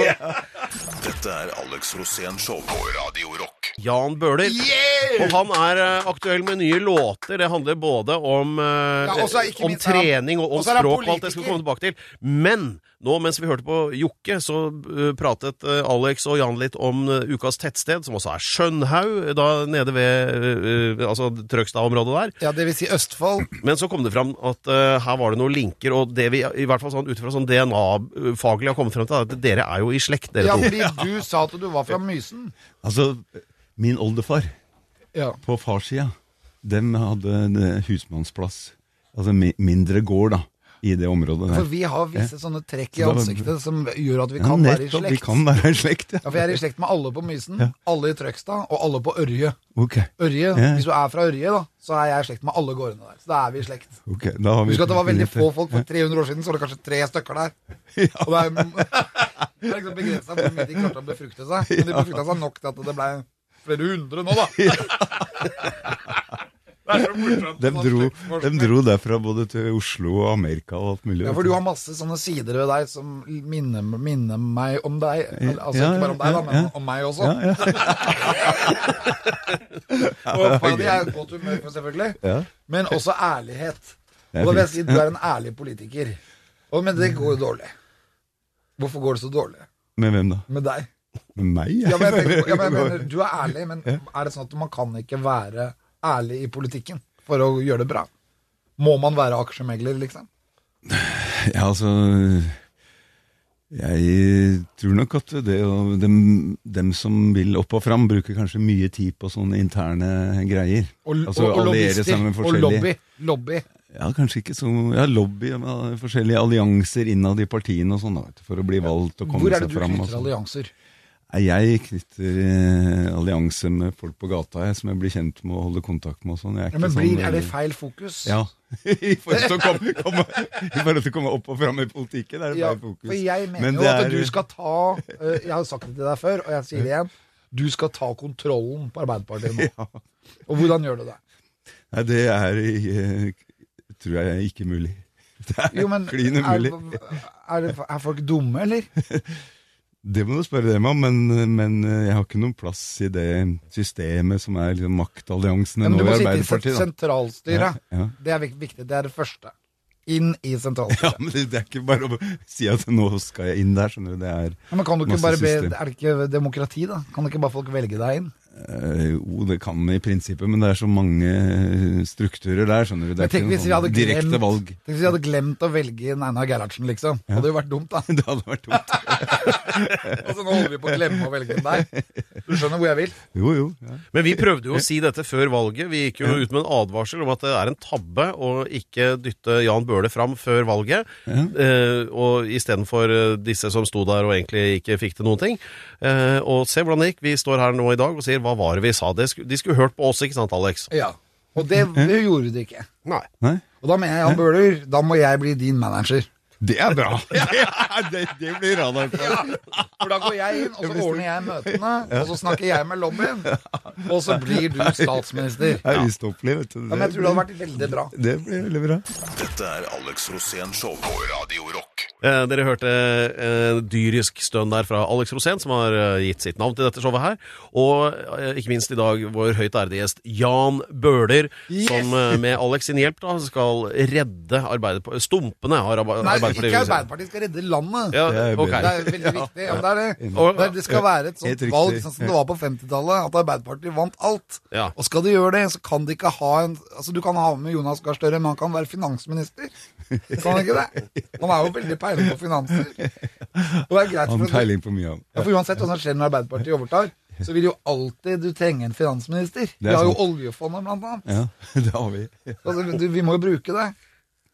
[SPEAKER 3] Dette er Alex Rosén Show på Radio Rock.
[SPEAKER 1] Jan Bøhler.
[SPEAKER 2] Yeah!
[SPEAKER 1] Og han er eh, aktuell med nye låter. Det handler både om, eh,
[SPEAKER 2] Ja, også er ikke
[SPEAKER 1] om
[SPEAKER 2] minst er han-
[SPEAKER 1] trening og om
[SPEAKER 2] også er han
[SPEAKER 1] språk og alt det skal vi komme
[SPEAKER 2] politiker.
[SPEAKER 1] tilbake til. Men nå mens vi hørte på Jokke, så eh, pratet eh, Alex og Jan litt om eh, ukas tettsted, som også er Skjønhaug, da nede ved eh, eh, altså Trøgstad-området der.
[SPEAKER 2] Ja, det vil si Østfold.
[SPEAKER 1] Men så kom det fram at eh, her var det noen linker, og det vi i hvert fall sånn, ut fra sånn DNA-faglig har kommet frem til, er at dere er jo i slekt, dere
[SPEAKER 2] Ja,
[SPEAKER 1] to.
[SPEAKER 2] fordi du sa at du var fra Mysen.
[SPEAKER 4] Altså, min oldefar
[SPEAKER 2] Ja.
[SPEAKER 4] på farssida, dem hadde en eh, husmannsplass. Altså mi- mindre gård, da, i det området
[SPEAKER 2] For
[SPEAKER 4] der.
[SPEAKER 2] vi har visse sånne trekk i
[SPEAKER 4] Så da-
[SPEAKER 2] ansiktet som gjør at vi
[SPEAKER 4] Ja,
[SPEAKER 2] kan være i
[SPEAKER 4] nettopp,
[SPEAKER 2] slekt.
[SPEAKER 4] Vi kan være i slekt,
[SPEAKER 2] Ja, for jeg er i slekt med alle på Mysen, alle i Trøgstad og alle på Ørje.
[SPEAKER 4] Ok,
[SPEAKER 2] Ørje,
[SPEAKER 4] Ja.
[SPEAKER 2] Hvis du er fra Ørje, da, så er jeg i slekt med alle gårdene der. Så da er vi i slekt.
[SPEAKER 4] ok. Da har vi
[SPEAKER 2] Husk at det var veldig få folk for 300 år siden, så var det kanskje tre stykker der. Og det er, det er liksom begrensa hvor mye de klarte å befrukte seg. Men de befrukta seg nok til at det ble flere hundre nå, da. Det er så morsomt.
[SPEAKER 4] De dro,
[SPEAKER 2] Slektsforskning.
[SPEAKER 4] dem dro derfra både til Oslo og Amerika og alt mulig.
[SPEAKER 2] Ja, for du har masse sånne sider ved deg som minner, minner meg om deg. Eller, Altså
[SPEAKER 4] Ja,
[SPEAKER 2] ikke bare om deg, da, men
[SPEAKER 4] ja, ja.
[SPEAKER 2] om meg også.
[SPEAKER 4] ja, ja.
[SPEAKER 2] Og på det er jo godt humør, for selvfølgelig.
[SPEAKER 4] Ja.
[SPEAKER 2] Men også ærlighet. Og
[SPEAKER 4] er
[SPEAKER 2] da vil jeg
[SPEAKER 4] fint.
[SPEAKER 2] si at du er en ærlig politiker. Og, men det går jo dårlig. Hvorfor går det så dårlig
[SPEAKER 4] Med hvem da?
[SPEAKER 2] med deg?
[SPEAKER 4] Med meg?
[SPEAKER 2] Ja, men jeg, tenker, på- ja, men jeg mener, du er ærlig, men er det sånn at man kan ikke være ærlig i politikken for å gjøre det bra? Må man være aksjemegler, liksom?
[SPEAKER 4] Ja, altså Jeg tror nok at det å dem, dem som vil opp og fram, bruker kanskje mye tid på sånne interne greier.
[SPEAKER 2] Og,
[SPEAKER 4] altså
[SPEAKER 2] og, og
[SPEAKER 4] alliere
[SPEAKER 2] lobbyister.
[SPEAKER 4] seg med
[SPEAKER 2] Og lobby.
[SPEAKER 4] forskjellige
[SPEAKER 2] lobby.
[SPEAKER 4] Ja, kanskje ikke så Ja, lobby. ja, Forskjellige allianser innad i partiene og sånn, da, vet du, for å bli valgt og komme
[SPEAKER 2] Hvor er det
[SPEAKER 4] seg
[SPEAKER 2] du
[SPEAKER 4] fram. og
[SPEAKER 2] knytter
[SPEAKER 4] sånn.
[SPEAKER 2] allianser?
[SPEAKER 4] Nei, Jeg knytter eh, allianse med folk på gata, jeg, som jeg blir kjent med og holder kontakt med og sånn. Jeg er
[SPEAKER 2] Ja, men
[SPEAKER 4] ikke
[SPEAKER 2] blir,
[SPEAKER 4] sånn,
[SPEAKER 2] er det
[SPEAKER 4] eh,
[SPEAKER 2] feil fokus?
[SPEAKER 4] Ja. I forhold til å komme, komme, i forhold til å komme opp og fram i politikken er det
[SPEAKER 2] Ja,
[SPEAKER 4] feil fokus.
[SPEAKER 2] for jeg mener
[SPEAKER 4] Men
[SPEAKER 2] jo
[SPEAKER 4] det
[SPEAKER 2] at
[SPEAKER 4] er-
[SPEAKER 2] du skal ta eh, Jeg har sagt det til deg før, og jeg sier det igjen. Du skal ta kontrollen på Arbeiderpartiet nå.
[SPEAKER 4] Ja.
[SPEAKER 2] Og hvordan gjør du det?
[SPEAKER 4] Nei, det er eh, tror jeg ikke mulig. Det er
[SPEAKER 2] Jo, men
[SPEAKER 4] klin
[SPEAKER 2] er,
[SPEAKER 4] umulig.
[SPEAKER 2] er, det- er folk dumme, eller?
[SPEAKER 4] Det må du spørre dem om, men, men eh, jeg har ikke noen plass i det systemet som er liksom maktalliansene
[SPEAKER 2] Ja, men
[SPEAKER 4] nå
[SPEAKER 2] du
[SPEAKER 4] i
[SPEAKER 2] må sitte i sent-
[SPEAKER 4] Arbeiderpartiet. Da.
[SPEAKER 2] sentralstyret.
[SPEAKER 4] Ja, ja.
[SPEAKER 2] Det er vik- viktig. Det er det første. Inn i
[SPEAKER 4] Ja,
[SPEAKER 2] sentralstyret.
[SPEAKER 4] men det, det er ikke bare å si at nå skal jeg inn der, skjønner du. Det er
[SPEAKER 2] Ja, men kan du ikke
[SPEAKER 4] masse
[SPEAKER 2] bare be,
[SPEAKER 4] system.
[SPEAKER 2] Er det ikke demokrati, da? Kan ikke bare folk velge deg inn?
[SPEAKER 4] eh, Jo, det kan i prinsippet, men det er så mange eh, strukturer der, skjønner du.
[SPEAKER 2] Men
[SPEAKER 4] Det er ikke
[SPEAKER 2] tenk hvis, vi
[SPEAKER 4] noen
[SPEAKER 2] hadde
[SPEAKER 4] sånn direkte
[SPEAKER 2] glemt,
[SPEAKER 4] valg.
[SPEAKER 2] tenk hvis vi hadde glemt å velge inn Einar Gerhardsen, liksom. Det hadde jo vært dumt, da.
[SPEAKER 4] Det hadde vært dumt.
[SPEAKER 2] Altså, nå holder vi på å glemme å velge inn deg. Du skjønner hvor jeg vil?
[SPEAKER 4] Jo, jo. Ja.
[SPEAKER 1] Men vi prøvde jo å si dette før valget. Vi gikk jo ut med en advarsel om at det er en tabbe å ikke dytte Jan Bøhler fram før valget. Eh, og istedenfor eh, disse som sto der og egentlig ikke fikk til noen ting. Eh, og se hvordan det gikk. Vi står her nå i dag og sier hva var det vi sa? Det sku, de skulle hørt på oss, ikke sant, Alex?
[SPEAKER 2] Ja. Og det, det gjorde du ikke.
[SPEAKER 1] Nei.
[SPEAKER 4] Nei?
[SPEAKER 2] Og da mener jeg Jan Bøhler, da må jeg bli din manager.
[SPEAKER 4] Det er bra. Det, er, det, det blir radar på.
[SPEAKER 2] For da går jeg inn, og så ordner jeg møtene, og så snakker jeg med lobbyen, og så blir du statsminister.
[SPEAKER 4] Det er ustoppelig, vet du.
[SPEAKER 2] Ja, men jeg tror det hadde vært veldig bra.
[SPEAKER 4] Det blir veldig bra.
[SPEAKER 3] Dette er Alex Rosén Show på Radio Rock.
[SPEAKER 1] Eh, dere hørte eh, dyrisk stønn der fra Alex Rosén, som har eh, gitt sitt navn til dette showet her. Og eh, ikke minst i dag vår høyt ærede gjest Jan Bøhler, som eh, med Alex sin hjelp da skal redde Arbeiderpa- stumpene av Arbe-
[SPEAKER 2] Nei,
[SPEAKER 1] Arbeiderpartiet.
[SPEAKER 2] ikke Arbeiderpartiet skal redde landet.
[SPEAKER 1] Ja,
[SPEAKER 4] Det er
[SPEAKER 1] ok.
[SPEAKER 2] Det er veldig viktig. Ja, men det, er det.
[SPEAKER 1] Og-
[SPEAKER 2] Det, er- det skal være et
[SPEAKER 4] Helt
[SPEAKER 2] sånt
[SPEAKER 4] riktig.
[SPEAKER 2] valg sånn som det var på 50-tallet, at Arbeiderpartiet vant alt.
[SPEAKER 1] Ja.
[SPEAKER 2] Og skal de gjøre det, så kan de ikke ha en Altså, du kan ha med Jonas Gahr Støre, men han kan være finansminister. Kan han ikke det? Han er jo veldig peiling på finanser. Og det er greit for
[SPEAKER 4] Han har
[SPEAKER 2] at-
[SPEAKER 4] peiling på mye annet.
[SPEAKER 2] Ja, for uansett hva som skjer når Arbeiderpartiet overtar, så vil jo alltid du trenge en finansminister.
[SPEAKER 4] er
[SPEAKER 2] Vi har jo
[SPEAKER 4] sant.
[SPEAKER 2] oljefondet, blant annet.
[SPEAKER 4] Ja, det har vi.
[SPEAKER 2] Altså, du, vi må jo bruke det.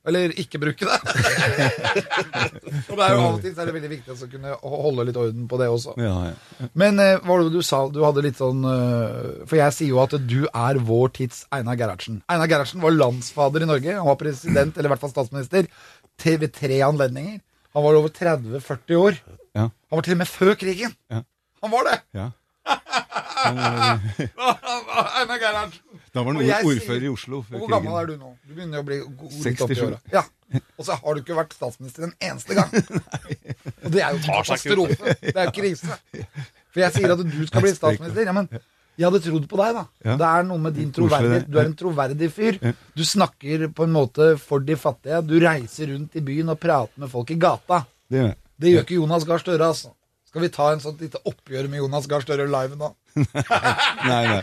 [SPEAKER 2] Eller ikke bruke det. og det er jo av og til så er det veldig viktig å kunne ho- holde litt orden på det også.
[SPEAKER 4] Ja, ja.
[SPEAKER 2] Men eh, hva var det du sa? Du hadde litt sånn eh, For jeg sier jo at du er vår tids Einar Gerhardsen. Einar Gerhardsen var landsfader i Norge. Han var president, eller i hvert fall statsminister, til, ved tre anledninger. Han var over 30-40 år.
[SPEAKER 4] ja,
[SPEAKER 2] Han var til og med før krigen.
[SPEAKER 4] Ja.
[SPEAKER 2] Han var det!
[SPEAKER 4] ja.
[SPEAKER 2] Einar Gerhardsen.
[SPEAKER 4] Da var
[SPEAKER 2] Og jeg
[SPEAKER 4] han
[SPEAKER 2] sier-
[SPEAKER 4] ordfører i Oslo.
[SPEAKER 2] Og Hvor gammel er du nå? Du begynner jo å bli go- litt oppi
[SPEAKER 4] 67.
[SPEAKER 2] åra. Ja. Og så har du ikke vært statsminister en eneste gang. Og det er jo
[SPEAKER 1] Tar seg ikke ut.
[SPEAKER 2] katastrofe. Det er jo krise. For jeg sier at du skal bli statsminister. Ja, men Jeg hadde trodd på deg, da.
[SPEAKER 4] Ja.
[SPEAKER 2] Det er noe med din
[SPEAKER 4] Koselig,
[SPEAKER 2] troverdighet.
[SPEAKER 4] det.
[SPEAKER 2] Du er en troverdig fyr. Du snakker på en måte for de fattige. Du reiser rundt i byen og prater med folk i gata.
[SPEAKER 4] Det gjør jeg.
[SPEAKER 2] Det gjør ikke Jonas Gahr Støre, altså. Skal vi ta en sånn lite oppgjør med Jonas Gahr Støre live nå?
[SPEAKER 4] Nei, nei.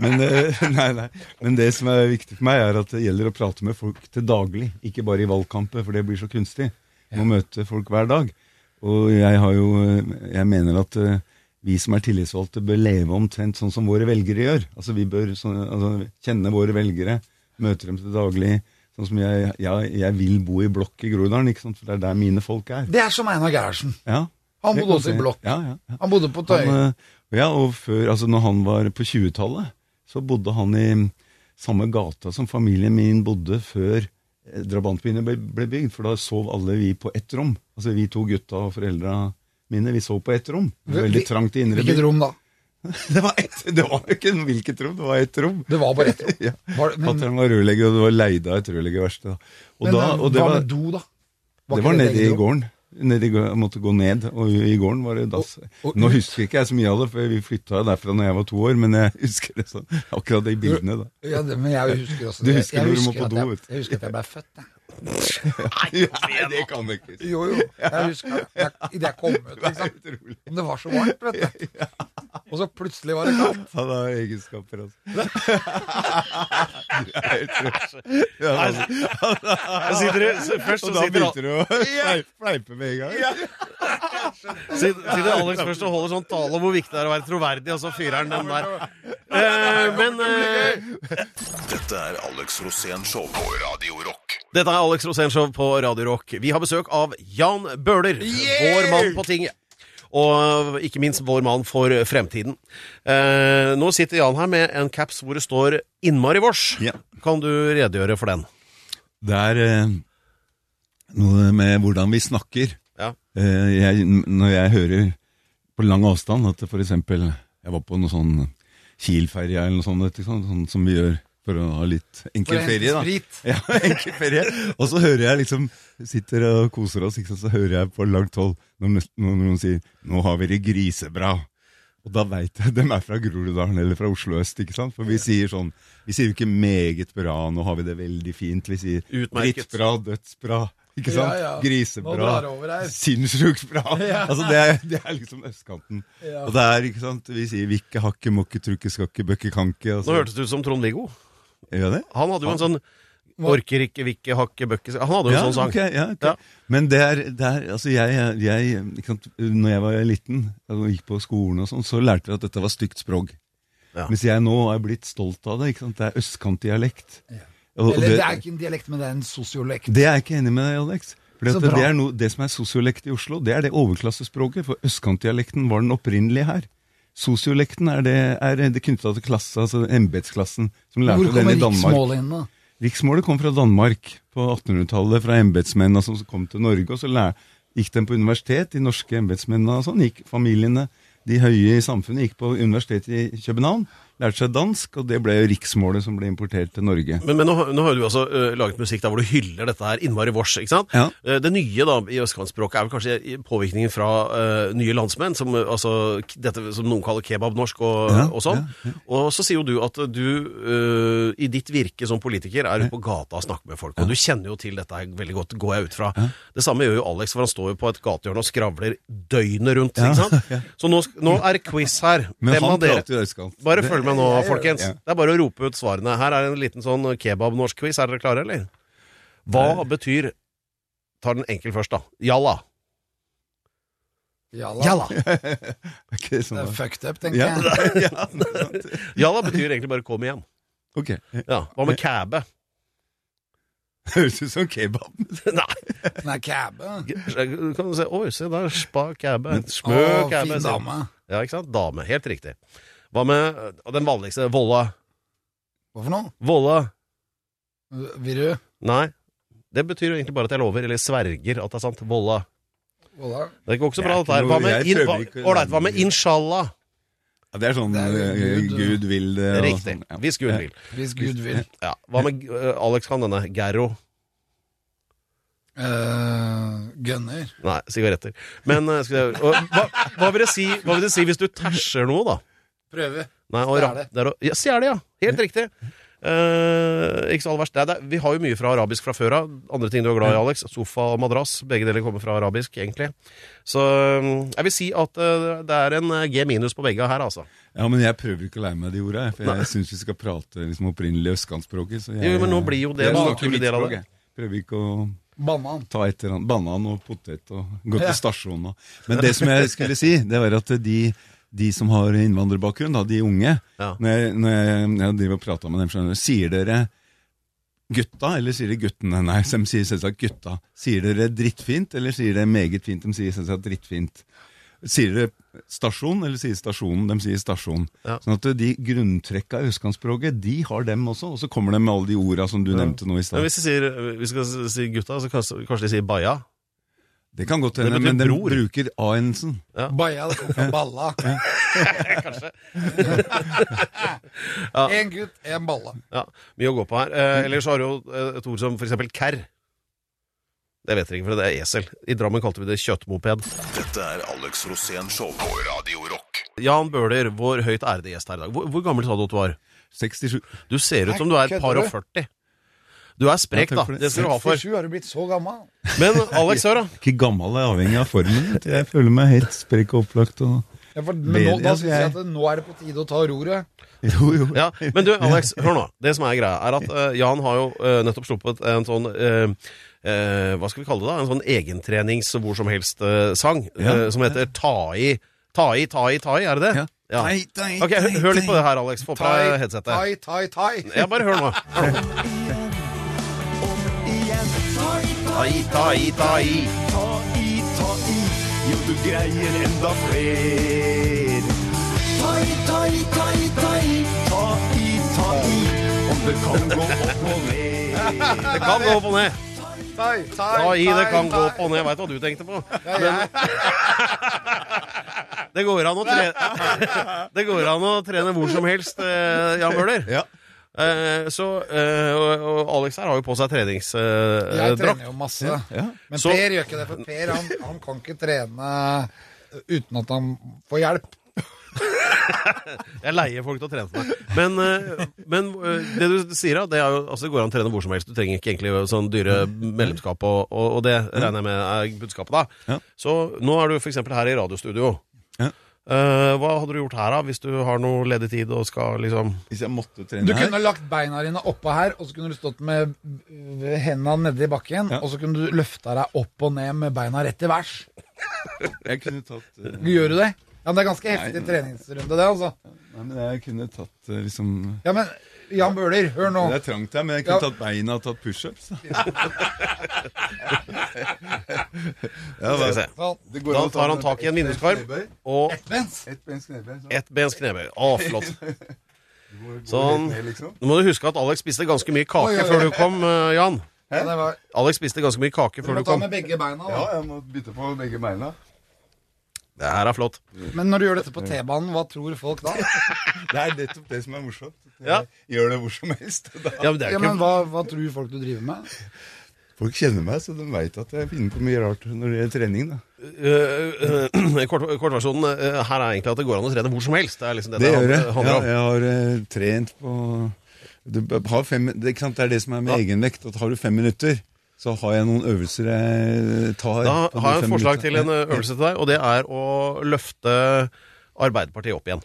[SPEAKER 4] Men, eh, nei, nei. Men det som er viktig for meg, er at det gjelder å prate med folk til daglig. Ikke bare i valgkamper, for det blir så kunstig. Må møte folk hver dag. Og jeg, har jo, eh, jeg mener at eh, vi som er tillitsvalgte, bør leve omtrent sånn som våre velgere gjør. Altså Vi bør sånn, altså, kjenne våre velgere, møte dem til daglig. Sånn som jeg, jeg, jeg vil bo i blokk i Groruddalen, ikke sant? for det er der mine folk er.
[SPEAKER 2] Det er som Einar Gerhardsen.
[SPEAKER 4] Ja.
[SPEAKER 2] Han
[SPEAKER 4] Det
[SPEAKER 2] bodde
[SPEAKER 4] kan
[SPEAKER 2] også i
[SPEAKER 4] jeg si.
[SPEAKER 2] blokk.
[SPEAKER 4] Ja, ja, ja.
[SPEAKER 2] Han bodde på
[SPEAKER 4] Han,
[SPEAKER 2] Tøyen.
[SPEAKER 4] eh, ja, og før, altså når han var på 20-tallet, så bodde han i samme gata som familien min bodde før eh, drabantbyene ble, ble bygd, for da sov alle vi på ett rom. Altså vi to gutta og foreldra mine, vi sov på ett rom. Det var Veldig
[SPEAKER 2] Hvil-
[SPEAKER 4] trangt i indre by.
[SPEAKER 2] Hvilket rom da?
[SPEAKER 4] Det var, ett, det var jo ikke hvilket rom, det var ett rom.
[SPEAKER 2] Det var bare ett rom.
[SPEAKER 4] Ja.
[SPEAKER 2] Var, det- men
[SPEAKER 4] Fatter'n var rørlegger, og det var leid av et rørleggerverksted. da. Og
[SPEAKER 2] men
[SPEAKER 4] da,
[SPEAKER 2] eh,
[SPEAKER 4] og det
[SPEAKER 2] hva
[SPEAKER 4] var,
[SPEAKER 2] med do, da?
[SPEAKER 4] det
[SPEAKER 2] ikke
[SPEAKER 4] var
[SPEAKER 2] et
[SPEAKER 4] nede i
[SPEAKER 2] eget rom?
[SPEAKER 4] gården. Nede i, gå- jeg måtte gå ned, og i i gården var det dass.
[SPEAKER 2] og
[SPEAKER 4] Nå
[SPEAKER 2] ut?
[SPEAKER 4] husker ikke jeg så mye av det, for vi flytta derfra når jeg var to år, men jeg husker det sånn, akkurat de bildene. da.
[SPEAKER 2] Ja, det, men jeg husker også
[SPEAKER 4] Du
[SPEAKER 2] det.
[SPEAKER 4] husker
[SPEAKER 2] jeg,
[SPEAKER 4] når du
[SPEAKER 2] husker
[SPEAKER 4] må
[SPEAKER 2] at
[SPEAKER 4] på do,
[SPEAKER 2] jeg,
[SPEAKER 4] vet du.
[SPEAKER 2] jeg husker at jeg ble født, jeg.
[SPEAKER 4] Nei, det kan du ikke.
[SPEAKER 2] Jo, jo. Jeg husker at jeg, idet jeg kom ut,
[SPEAKER 4] Det er
[SPEAKER 2] liksom.
[SPEAKER 4] utrolig.
[SPEAKER 2] Men Det var så varmt, vet du. Og så plutselig var det kaldt.
[SPEAKER 4] Han har egenskaper, altså. Du er helt rå. Ja, altså.
[SPEAKER 1] Jeg sitter, så først
[SPEAKER 4] Og
[SPEAKER 1] så
[SPEAKER 4] da
[SPEAKER 1] sitter,
[SPEAKER 4] begynte du å fleip- fleipe med en gang.
[SPEAKER 1] Al- sitter, sitter Alex først og holder sånn tale om hvor viktig det er å være troverdig, og så fyrer han den der. Eh, men eh,
[SPEAKER 3] Dette er Alex Rosén Show på Radio Rock.
[SPEAKER 1] Dette er Alex Rosénshow på Radio Rock. Vi har besøk av Jan Bøhler, vår mann på tinget. Og ikke minst vår mann for fremtiden. Eh, nå sitter Jan her med en caps hvor det står 'Innmari vårs'.
[SPEAKER 4] Ja.
[SPEAKER 1] Kan du redegjøre for den?
[SPEAKER 4] Det er eh, noe med hvordan vi snakker.
[SPEAKER 1] Ja.
[SPEAKER 4] Eh, jeg, n- når jeg hører på lang avstand at for eksempel jeg var på noe sånn Kiel-ferie eller noe sånt, ikke sant? sånn som vi gjør for å ha litt
[SPEAKER 2] For å
[SPEAKER 4] enkel
[SPEAKER 2] hente
[SPEAKER 4] ferie, da.
[SPEAKER 2] sprit.
[SPEAKER 4] Ja, enkel ferie. Og så hører jeg liksom Sitter og koser oss, ikke sant? så hører jeg på langt hold når noen, når noen sier 'Nå har vi det grisebra'. Og da veit jeg dem er fra Groruddalen eller fra Oslo øst, ikke sant? For vi sier sånn Vi sier jo ikke 'meget bra', 'nå har vi det veldig fint'. Vi sier
[SPEAKER 1] Utmerket.
[SPEAKER 4] 'drittbra', 'dødsbra'. Ikke sant?
[SPEAKER 2] Ja, ja.
[SPEAKER 4] Grisebra.
[SPEAKER 2] Nå drar det over her.
[SPEAKER 4] Sinnssykt bra! Altså, det, er, det er liksom østkanten.
[SPEAKER 2] Ja.
[SPEAKER 4] Og det er, ikke sant, vi sier vikke, hakke, mokke, trukke, skakke, bøkke, kanke.
[SPEAKER 1] Nå
[SPEAKER 4] Altså.
[SPEAKER 1] hørtes det ut som Trond-Viggo.
[SPEAKER 4] Gjør jeg det?
[SPEAKER 1] Han hadde jo en sånn 'Orker ikke, vikke, hakke, bøkke' Han hadde jo en sånn sang.
[SPEAKER 4] ok, ja, ok.
[SPEAKER 1] Ja.
[SPEAKER 4] Men det er, det er altså jeg, jeg ikke sant, Når jeg var liten og gikk på skolen, og sånn, så lærte vi at dette var stygt språk.
[SPEAKER 1] Ja.
[SPEAKER 4] Mens jeg nå er blitt stolt av det. ikke sant? Det er østkantdialekt. Og- og
[SPEAKER 2] Eller det er ikke en dialekt, men det er en sosiolekt.
[SPEAKER 4] Det er jeg ikke enig med deg, Alex. Fordi
[SPEAKER 2] Så
[SPEAKER 4] at det,
[SPEAKER 2] bra.
[SPEAKER 4] er noe, det som er sosiolekt i Oslo, det er det overklassespråket. For østkantdialekten var den opprinnelige her. Sosiolekten er det, er det knytta til klasse, altså embetsklassen, som
[SPEAKER 2] Hvor
[SPEAKER 4] lærte den
[SPEAKER 2] kommer
[SPEAKER 4] i Danmark.
[SPEAKER 2] riksmålet inn, da?
[SPEAKER 4] Riksmålet kom fra Danmark på 1800-tallet, fra embetsmennene som kom til Norge. og så lær, Gikk de på universitet, de norske embetsmennene og sånn. gikk Familiene, de høye i samfunnet, gikk på universitetet i København. Lærte seg dansk, og det ble jo riksmålet som ble importert til Norge.
[SPEAKER 1] Men, men nå, nå har du altså eh, laget musikk der hvor du hyller dette her innmari vårs, ikke sant?
[SPEAKER 4] Ja.
[SPEAKER 1] Eh, det nye da i østkantspråket er vel kanskje i- påvirkningen fra eh, nye landsmenn, som, eh, altså, k- dette som noen kaller kebabnorsk og,
[SPEAKER 4] Ja,
[SPEAKER 1] og sånn. Og så sier jo du at du eh, i ditt virke som politiker er ute på gata og snakker med folk, og du kjenner jo til dette her veldig godt, går jeg ut fra. Det samme gjør jo Alex, for han står jo på et gatehjørne og skravler døgnet rundt, ikke sant? Så nå, sk- nå er det quiz her.
[SPEAKER 4] Men
[SPEAKER 1] Hvem
[SPEAKER 4] han
[SPEAKER 1] av dere
[SPEAKER 4] prater jo østkant.
[SPEAKER 1] bare
[SPEAKER 4] Det-
[SPEAKER 1] følg med nå, folkens.
[SPEAKER 4] Ja.
[SPEAKER 1] Det er bare å rope ut svarene. Her er en liten sånn kebab-norsk-quiz. Er dere klare, eller? Hva betyr Tar den enkel først, da. Jalla.
[SPEAKER 2] Jalla.
[SPEAKER 1] Jalla.
[SPEAKER 4] Ok, sånn
[SPEAKER 2] Det er
[SPEAKER 4] da.
[SPEAKER 2] fucked up, tenker
[SPEAKER 4] Ja,
[SPEAKER 2] jeg.
[SPEAKER 4] ja, sant.
[SPEAKER 1] Jalla betyr egentlig bare 'kom igjen'.
[SPEAKER 4] ok.
[SPEAKER 1] Ja, Hva med kæbe?
[SPEAKER 4] Høres ut som kebab.
[SPEAKER 1] Nei,
[SPEAKER 2] Den er kæbe.
[SPEAKER 1] kan du se Oi, se der. Spa kæbe.
[SPEAKER 2] Å,
[SPEAKER 1] Smø kæbe. sier
[SPEAKER 2] fin
[SPEAKER 1] den.
[SPEAKER 2] dame.
[SPEAKER 1] Ja, ikke sant? Dame. Helt riktig. Hva med og den vanligste? Volla.
[SPEAKER 2] Hva for noe?
[SPEAKER 1] Volla.
[SPEAKER 2] Vil du?
[SPEAKER 1] Nei. Det betyr jo egentlig bare at jeg lover, eller sverger at det er sant. Volla.
[SPEAKER 2] Volla.
[SPEAKER 1] Det går ikke så
[SPEAKER 4] Det er
[SPEAKER 1] bra,
[SPEAKER 4] ikke
[SPEAKER 1] dette her.
[SPEAKER 4] noe-
[SPEAKER 1] Hva med,
[SPEAKER 4] jeg
[SPEAKER 1] in, hva,
[SPEAKER 4] prøver ikke å-
[SPEAKER 1] ålreit, hva med inshallah?
[SPEAKER 4] Ja, det er sånn
[SPEAKER 2] Det er jo
[SPEAKER 4] eh,
[SPEAKER 2] Gud,
[SPEAKER 4] Gud vil det. og
[SPEAKER 1] Riktig.
[SPEAKER 4] sånn, ja.
[SPEAKER 1] Hvis Gud vil.
[SPEAKER 2] Hvis Gud vil.
[SPEAKER 1] Ja. Hva med eh, Alex kan denne? Gerro?
[SPEAKER 2] Eh, Gunner.
[SPEAKER 1] Nei, sigaretter. Men eh, skal jeg, og, hva, hva, vil det si, hva vil det si hvis du tæsjer noe, da?
[SPEAKER 2] Prøve.
[SPEAKER 1] Nei, og
[SPEAKER 2] Stjele.
[SPEAKER 1] ra- det er å, ja, stjele, ja. Helt riktig. Eh, ikke så aller verst. Det er, det, er- vi har jo mye fra arabisk fra før av. Andre ting du er glad i, Alex. Sofa og madrass. Begge deler kommer fra arabisk, egentlig. Så eh, jeg vil si at eh, det er en eh, G minus på begge her, altså.
[SPEAKER 4] Ja, men jeg prøver ikke å lære meg de orda, jeg, for jeg syns vi skal prate liksom, opprinnelig østkantspråket. så jeg-
[SPEAKER 1] Jo, men nå blir jo det
[SPEAKER 4] Jeg
[SPEAKER 1] en
[SPEAKER 4] snakker
[SPEAKER 1] naturlig
[SPEAKER 4] mitt
[SPEAKER 1] del av
[SPEAKER 4] språk,
[SPEAKER 1] det.
[SPEAKER 4] jeg. Prøver ikke å
[SPEAKER 2] Banan.
[SPEAKER 4] ta etter han banan og potet og gå
[SPEAKER 2] Ja.
[SPEAKER 4] til stasjonen. og- Men det som jeg skulle si, det var at de, de som har innvandrerbakgrunn, da, de unge,
[SPEAKER 1] Ja.
[SPEAKER 4] når, jeg, når jeg, når jeg driver og prater med dem, skjønner, du, sier dere gutta, eller sier de guttene? Nei, de sier selvsagt gutta. Sier dere drittfint, eller sier dere meget fint? De sier selvsagt drittfint. Sier dere stasjon, eller sier stasjonen? De sier stasjon.
[SPEAKER 1] Ja.
[SPEAKER 4] Sånn at de grunntrekka i østkantspråket, de har dem også, og så kommer de med alle de orda som du nevnte nå i
[SPEAKER 1] Men
[SPEAKER 4] stad.
[SPEAKER 1] hvis de sier, hvis de skal si gutta, så kanskje, kanskje de sier baja.
[SPEAKER 4] Det kan godt
[SPEAKER 1] Det
[SPEAKER 4] hende,
[SPEAKER 1] betyr
[SPEAKER 4] men de
[SPEAKER 1] bror.
[SPEAKER 4] bruker a-endelsen.
[SPEAKER 2] Baja, det kom fra balla.
[SPEAKER 1] Ja.
[SPEAKER 2] Kanskje. En gutt, en balla.
[SPEAKER 1] Ja, Mye å gå på her.
[SPEAKER 4] Mm.
[SPEAKER 1] Eh, ellers har du jo eh, et ord som for eksempel kerr. Det vet dere ikke, for det er esel. I Drammen kalte vi det kjøttmoped.
[SPEAKER 3] Dette er Alex Rosén Show på Radio Rock.
[SPEAKER 1] Jan Bøhler, vår høyt ærede gjest her i dag. Hvor, hvor gammel sa du at du var?
[SPEAKER 4] 67.
[SPEAKER 1] Du ser ut som du er et par og 40. Du er sprek,
[SPEAKER 4] Ja,
[SPEAKER 1] da.
[SPEAKER 4] takk for det.
[SPEAKER 1] Det skal du ha for.
[SPEAKER 2] 47 har du blitt så gammel.
[SPEAKER 1] Men Alex, hør, da.
[SPEAKER 4] Ikke gammel jeg er avhengig av formen. vet du. Jeg føler meg helt sprek og opplagt. Og...
[SPEAKER 2] Ja, for, men nå, da
[SPEAKER 4] Bedre,
[SPEAKER 2] synes jeg
[SPEAKER 4] jeg.
[SPEAKER 2] at nå er det på tide å ta roret.
[SPEAKER 4] Jo, jo.
[SPEAKER 1] Ja, men du, Alex, hør nå. Det som er greia, er at eh, Jan har jo eh, nettopp sluppet en sånn eh, eh, Hva skal vi kalle det, da? En sånn egentrenings hvor som helst-sang
[SPEAKER 4] Ja.
[SPEAKER 1] eh, som heter Ta i, ta i, ta i, ta i. Er det det?
[SPEAKER 4] Ja. Tei, tei,
[SPEAKER 1] Ok, hør,
[SPEAKER 4] tei,
[SPEAKER 1] hør litt
[SPEAKER 4] tei.
[SPEAKER 1] på det her, Alex. Få på
[SPEAKER 2] Tai,
[SPEAKER 1] deg headsetet.
[SPEAKER 2] tai, tai, tai.
[SPEAKER 1] Ja, bare hør nå. Tai, tai, tai.
[SPEAKER 5] Jo, du greier enda fler. Ta i, ta i, ta i, ta i, ta i, ta i. Om det kan gå opp og ned.
[SPEAKER 1] Det kan gå opp og ned.
[SPEAKER 2] Tai, tai,
[SPEAKER 1] Ta i, det
[SPEAKER 2] tai,
[SPEAKER 1] kan gå
[SPEAKER 2] tai.
[SPEAKER 1] opp og ned. Jeg veit hva du tenkte på.
[SPEAKER 2] Ja, ja.
[SPEAKER 1] Det går an å trene, det går an å trene hvor som helst, eh, Jan Bøhler.
[SPEAKER 4] Ja.
[SPEAKER 1] Eh, så, eh, og, og Alex her har jo på seg eh,
[SPEAKER 2] Jeg
[SPEAKER 1] treningsdrakt.
[SPEAKER 2] trener jo masse.
[SPEAKER 4] Ja.
[SPEAKER 2] Men
[SPEAKER 1] Så-
[SPEAKER 2] Per gjør ikke det, for Per han, han kan ikke trene eh, uten at han får hjelp.
[SPEAKER 1] jeg leier folk til å trene for meg. Men, eh, men eh, det du sier, da, det er jo altså, det går an å trene hvor som helst. Du trenger ikke egentlig sånn dyre medlemskap, og, og, og det regner jeg med er budskapet, da.
[SPEAKER 4] Ja.
[SPEAKER 1] Så nå er du f.eks. her i radiostudio.
[SPEAKER 4] Ja.
[SPEAKER 1] Eh, hva hadde du gjort her, da, hvis du har noe ledig tid og skal liksom
[SPEAKER 4] Hvis jeg måtte
[SPEAKER 2] Du
[SPEAKER 4] trene her
[SPEAKER 2] kunne lagt beina dine oppå her, og så kunne du stått med øh, hendene nedi bakken,
[SPEAKER 4] Ja.
[SPEAKER 2] og så kunne du løfta deg opp og ned med beina rett i værs.
[SPEAKER 4] Jeg kunne tatt eh,
[SPEAKER 2] Gjør du det? Ja, men Det er ganske heftig treningsrunde, det, altså.
[SPEAKER 4] Nei, men jeg kunne tatt eh, liksom
[SPEAKER 2] Ja, men Jan Bøhler, hør nå.
[SPEAKER 4] Det er trangt her, men jeg
[SPEAKER 2] Ja.
[SPEAKER 4] kunne tatt beina og tatt pushups. da. ja,
[SPEAKER 1] Skal vi se.
[SPEAKER 2] Sånn.
[SPEAKER 4] det
[SPEAKER 1] Da
[SPEAKER 4] an å ta
[SPEAKER 1] tar han
[SPEAKER 4] med
[SPEAKER 1] tak i en
[SPEAKER 4] ett bens
[SPEAKER 1] vinduskarm.
[SPEAKER 4] knebøy.
[SPEAKER 1] Og
[SPEAKER 2] Vent.
[SPEAKER 4] Ett bens knebøy. så
[SPEAKER 1] Ett bens knebøy. Å, flott.
[SPEAKER 4] går det
[SPEAKER 1] Sånn.
[SPEAKER 4] helt ned, liksom.
[SPEAKER 1] Nå må du huske at Alex spiste ganske mye kake
[SPEAKER 2] Oi, oi, oi.
[SPEAKER 1] før du kom, eh, Jan.
[SPEAKER 2] Ja, det var,
[SPEAKER 1] Alex spiste ganske mye kake
[SPEAKER 2] du
[SPEAKER 1] før
[SPEAKER 2] må
[SPEAKER 1] du
[SPEAKER 2] ta
[SPEAKER 1] kom.
[SPEAKER 2] med begge beina.
[SPEAKER 4] Ja,
[SPEAKER 2] Da.
[SPEAKER 4] jeg må bytte på begge beina.
[SPEAKER 1] Det her er flott.
[SPEAKER 2] Men når du gjør dette på T-banen, hva tror folk da?
[SPEAKER 4] Det er nettopp det som er morsomt. Jeg
[SPEAKER 1] Ja.
[SPEAKER 4] Gjør det hvor som helst. Da.
[SPEAKER 1] Ja, men det er
[SPEAKER 2] Ja,
[SPEAKER 1] jo
[SPEAKER 2] men
[SPEAKER 1] ikke
[SPEAKER 2] hva, hva tror folk du driver med?
[SPEAKER 4] Folk kjenner meg, så de veit at jeg finner på mye rart når det gjelder trening. Da.
[SPEAKER 1] Eh, eh, kort, Kortversjonen eh, her er egentlig at det går an å trene hvor som helst. Det er liksom det
[SPEAKER 4] Det
[SPEAKER 1] det,
[SPEAKER 4] gjør jeg.
[SPEAKER 1] hand-
[SPEAKER 4] Ja,
[SPEAKER 1] handler om.
[SPEAKER 4] jeg har eh, trent på du b- har fem, det, ikke sant? det er det som er med egenvekt. At har du fem minutter, så har jeg noen øvelser jeg tar.
[SPEAKER 1] Da
[SPEAKER 4] på de
[SPEAKER 1] har jeg
[SPEAKER 4] fem
[SPEAKER 1] et forslag til
[SPEAKER 4] minuttene.
[SPEAKER 1] en eh, øvelse til deg, og det er å løfte Arbeiderpartiet opp igjen.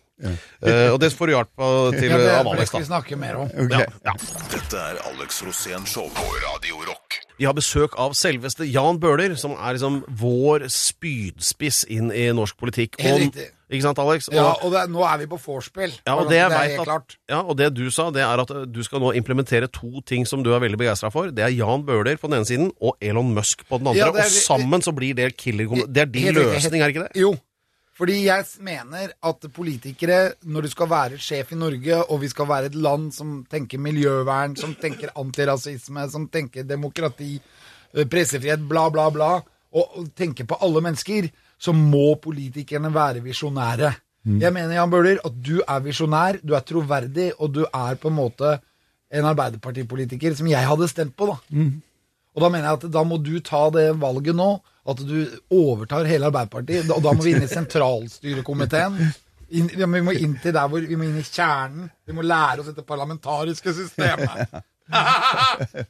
[SPEAKER 1] Eh, og det får du hjelp av til
[SPEAKER 2] Ja, det
[SPEAKER 1] eh,
[SPEAKER 2] er
[SPEAKER 1] av
[SPEAKER 2] for det
[SPEAKER 1] Alex,
[SPEAKER 2] skal vi
[SPEAKER 1] da.
[SPEAKER 2] snakke mer om.
[SPEAKER 4] Ok.
[SPEAKER 1] Ja, ja.
[SPEAKER 3] Dette er Alex Rosén Show på Radio Rock.
[SPEAKER 1] Vi har besøk av selveste Jan Bøhler, som er liksom vår spydspiss inn i norsk politikk.
[SPEAKER 2] Helt
[SPEAKER 1] Og-
[SPEAKER 2] riktig.
[SPEAKER 1] Ikke sant, Alex?
[SPEAKER 2] Ja, og det, er- nå er vi på vorspiel.
[SPEAKER 1] Ja, og det, jeg vet
[SPEAKER 2] helt
[SPEAKER 1] at,
[SPEAKER 2] klart.
[SPEAKER 1] ja, og det du sa, det er at eh, du skal nå implementere to ting som du er veldig begeistra for. Det er Jan Bøhler på den ene siden og Elon Musk på den
[SPEAKER 2] Ja,
[SPEAKER 1] andre.
[SPEAKER 2] det er-
[SPEAKER 1] og sammen så blir det killer Det er din
[SPEAKER 2] Helt riktig, helt-
[SPEAKER 1] løsning, er ikke det?
[SPEAKER 2] Jo. Fordi jeg mener at politikere, når du skal være sjef i Norge, og vi skal være et land som tenker miljøvern, som tenker antirasisme, som tenker demokrati, eh, pressefrihet, bla, bla, bla, og og tenker på alle mennesker, så må politikerne være visjonære.
[SPEAKER 1] Mm.
[SPEAKER 2] Jeg mener, Jan Bøhler, at du er visjonær, du er troverdig, og du er på en måte en arbeiderpartipolitiker som jeg hadde stemt på, da. Og da mener jeg at da må du ta det valget nå, at du overtar hele Arbeiderpartiet, og da må vi inn i sentralstyrekomiteen. Inn, ja, men vi må inn til der hvor vi må inn i kjernen. Vi må lære oss dette parlamentariske systemet.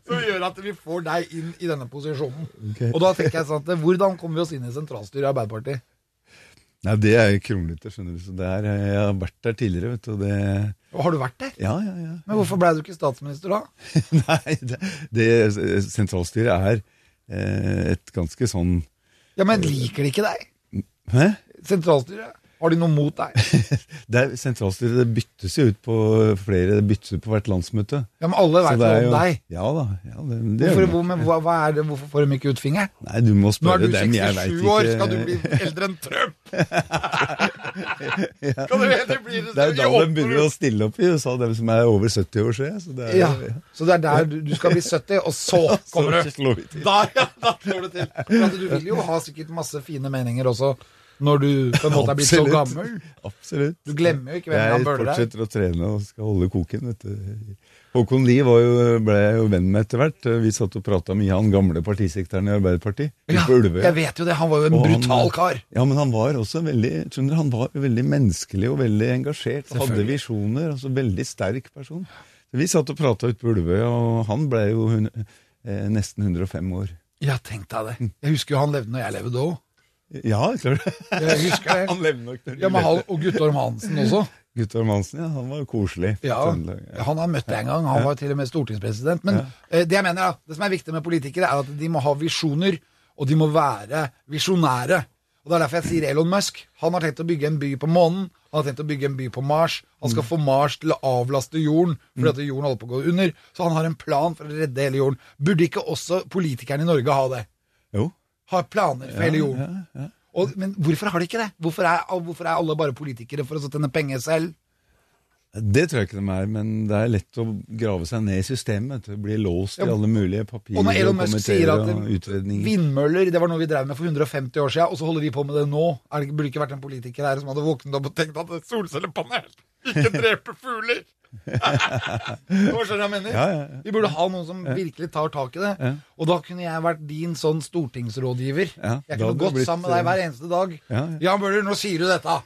[SPEAKER 2] Som gjør at vi får deg inn i denne posisjonen. Og da tenker jeg sånn at Hvordan kommer vi oss inn i sentralstyret i Arbeiderpartiet?
[SPEAKER 4] Nei, det er kronglete, skjønner du. Så det er, eh, jeg har vært der tidligere, vet du. Og det
[SPEAKER 2] Og Har du vært der?
[SPEAKER 4] Ja, ja, ja.
[SPEAKER 2] Men hvorfor blei du ikke statsminister da?
[SPEAKER 4] Nei, det, det sentralstyret er eh, et ganske sånn
[SPEAKER 2] Ja, Men liker de ikke deg?
[SPEAKER 4] Hæ?
[SPEAKER 2] Sentralstyret? Har de noe mot deg?
[SPEAKER 4] Det er, sentralstyret det byttes jo ut på flere, det byttes ut på hvert landsmøte.
[SPEAKER 2] Ja, men Alle
[SPEAKER 4] Så
[SPEAKER 2] vet
[SPEAKER 4] det
[SPEAKER 2] noe
[SPEAKER 4] er
[SPEAKER 2] om
[SPEAKER 4] jo-
[SPEAKER 2] deg.
[SPEAKER 4] Ja da. Ja, det, det
[SPEAKER 2] Hvorfor,
[SPEAKER 4] gjør det.
[SPEAKER 2] hvor, men, hva, hva er det, hvorfor får de ikke ut fingeren?
[SPEAKER 4] Nei, du må
[SPEAKER 2] Nå er
[SPEAKER 4] spørre
[SPEAKER 2] du
[SPEAKER 4] dem. Jeg
[SPEAKER 2] 67
[SPEAKER 4] veit ikke.
[SPEAKER 2] år, skal du bli eldre enn Trump? Kan du heller bli
[SPEAKER 4] Det er jo da de begynner å stille opp i USA, dem som er over 70 år, ser jeg. Så det er,
[SPEAKER 2] Ja, så det er der du, du skal bli 70, og så kommer du.
[SPEAKER 4] slår vi til.
[SPEAKER 2] Da, ja, da slår du til. For at du vil jo ha sikkert masse fine meninger også, når du på en måte er blitt så
[SPEAKER 4] Absolutt.
[SPEAKER 2] gammel.
[SPEAKER 4] Absolutt.
[SPEAKER 2] Du glemmer jo ikke hvem
[SPEAKER 4] jeg
[SPEAKER 2] han bøler er.
[SPEAKER 4] fortsetter å trene og skal holde koken. Vet du. Håkon Lie var jo, ble jeg jo venn med etter hvert. Vi satt og prata mye, han gamle partisekretæren i Arbeiderpartiet. ute
[SPEAKER 2] Ja,
[SPEAKER 4] på Ulvøya.
[SPEAKER 2] jeg vet jo det, han var jo en
[SPEAKER 4] Og han-
[SPEAKER 2] brutal kar.
[SPEAKER 4] Ja, men han var også veldig skjønner, du, han var jo veldig menneskelig og veldig engasjert. Hadde visjoner. altså Veldig sterk person. Så vi satt og prata ute på Ulvøya, og han ble jo hun, eh, nesten 105 år.
[SPEAKER 2] Ja, tenk deg det. Jeg husker jo han levde når jeg levde òg.
[SPEAKER 4] Ja, klart
[SPEAKER 2] Jeg husker det.
[SPEAKER 4] Han levde nok til
[SPEAKER 2] Ja, men han, og Guttorm Hansen også.
[SPEAKER 4] Guttorm Hansen, ja. Han var jo koselig.
[SPEAKER 2] Ja,
[SPEAKER 4] Trøndelag, ja.
[SPEAKER 2] Han har møtt deg en gang, han var til og med stortingspresident. Men eh, det jeg mener da, det som er viktig med politikere, er at de må ha visjoner, og de må være visjonære. Og Det er derfor jeg sier Elon Musk. Han har tenkt å bygge en by på månen. Han har tenkt å bygge en by på Mars. Han skal få Mars til å avlaste jorden, fordi at jorden holder på å gå under. Så han har en plan for å redde hele jorden. Burde ikke også politikerne i Norge ha det?
[SPEAKER 4] Jo.
[SPEAKER 2] Har planer for hele jorden. Og, men hvorfor har de ikke det? Hvorfor er, hvorfor er alle bare politikere for å tjene penger selv?
[SPEAKER 4] Det tror jeg ikke de er, men det er lett å grave seg ned i systemet. vet du. Bli låst
[SPEAKER 2] Ja.
[SPEAKER 4] i alle mulige papirer
[SPEAKER 2] Og når Elon
[SPEAKER 4] og
[SPEAKER 2] Musk sier
[SPEAKER 4] komiteer
[SPEAKER 2] at
[SPEAKER 4] og utredninger.
[SPEAKER 2] vindmøller det var noe vi drev med for 150 år siden, og så holder vi på med det nå er det, ikke- Burde ikke vært en politiker her som hadde våknet opp og tenkt at et solcellepanel ikke dreper fugler! Hva skjønner jeg mener?
[SPEAKER 4] Ja, ja, ja.
[SPEAKER 2] Vi burde ha noen som virkelig tar tak i det. Og da kunne jeg vært din sånn stortingsrådgiver.
[SPEAKER 4] Ja,
[SPEAKER 2] jeg
[SPEAKER 4] da
[SPEAKER 2] kunne
[SPEAKER 4] hadde
[SPEAKER 2] gått
[SPEAKER 4] du blitt,
[SPEAKER 2] sammen med deg
[SPEAKER 4] eh,
[SPEAKER 2] hver eneste dag.
[SPEAKER 4] ja, ja.
[SPEAKER 2] Jan Bøhler, nå sier du dette!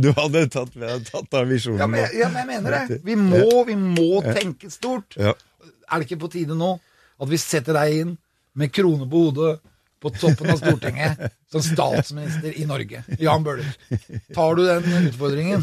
[SPEAKER 4] Du hadde tatt, vi hadde tatt av visjonen.
[SPEAKER 2] Ja, men, jeg- ja, men jeg mener det. Vi må, vi må tenke stort.
[SPEAKER 4] Ja.
[SPEAKER 2] Er det ikke på tide nå at vi setter deg inn med krone på hodet på toppen av Stortinget som statsminister i Norge? Jan Bøhler. Tar du den utfordringen?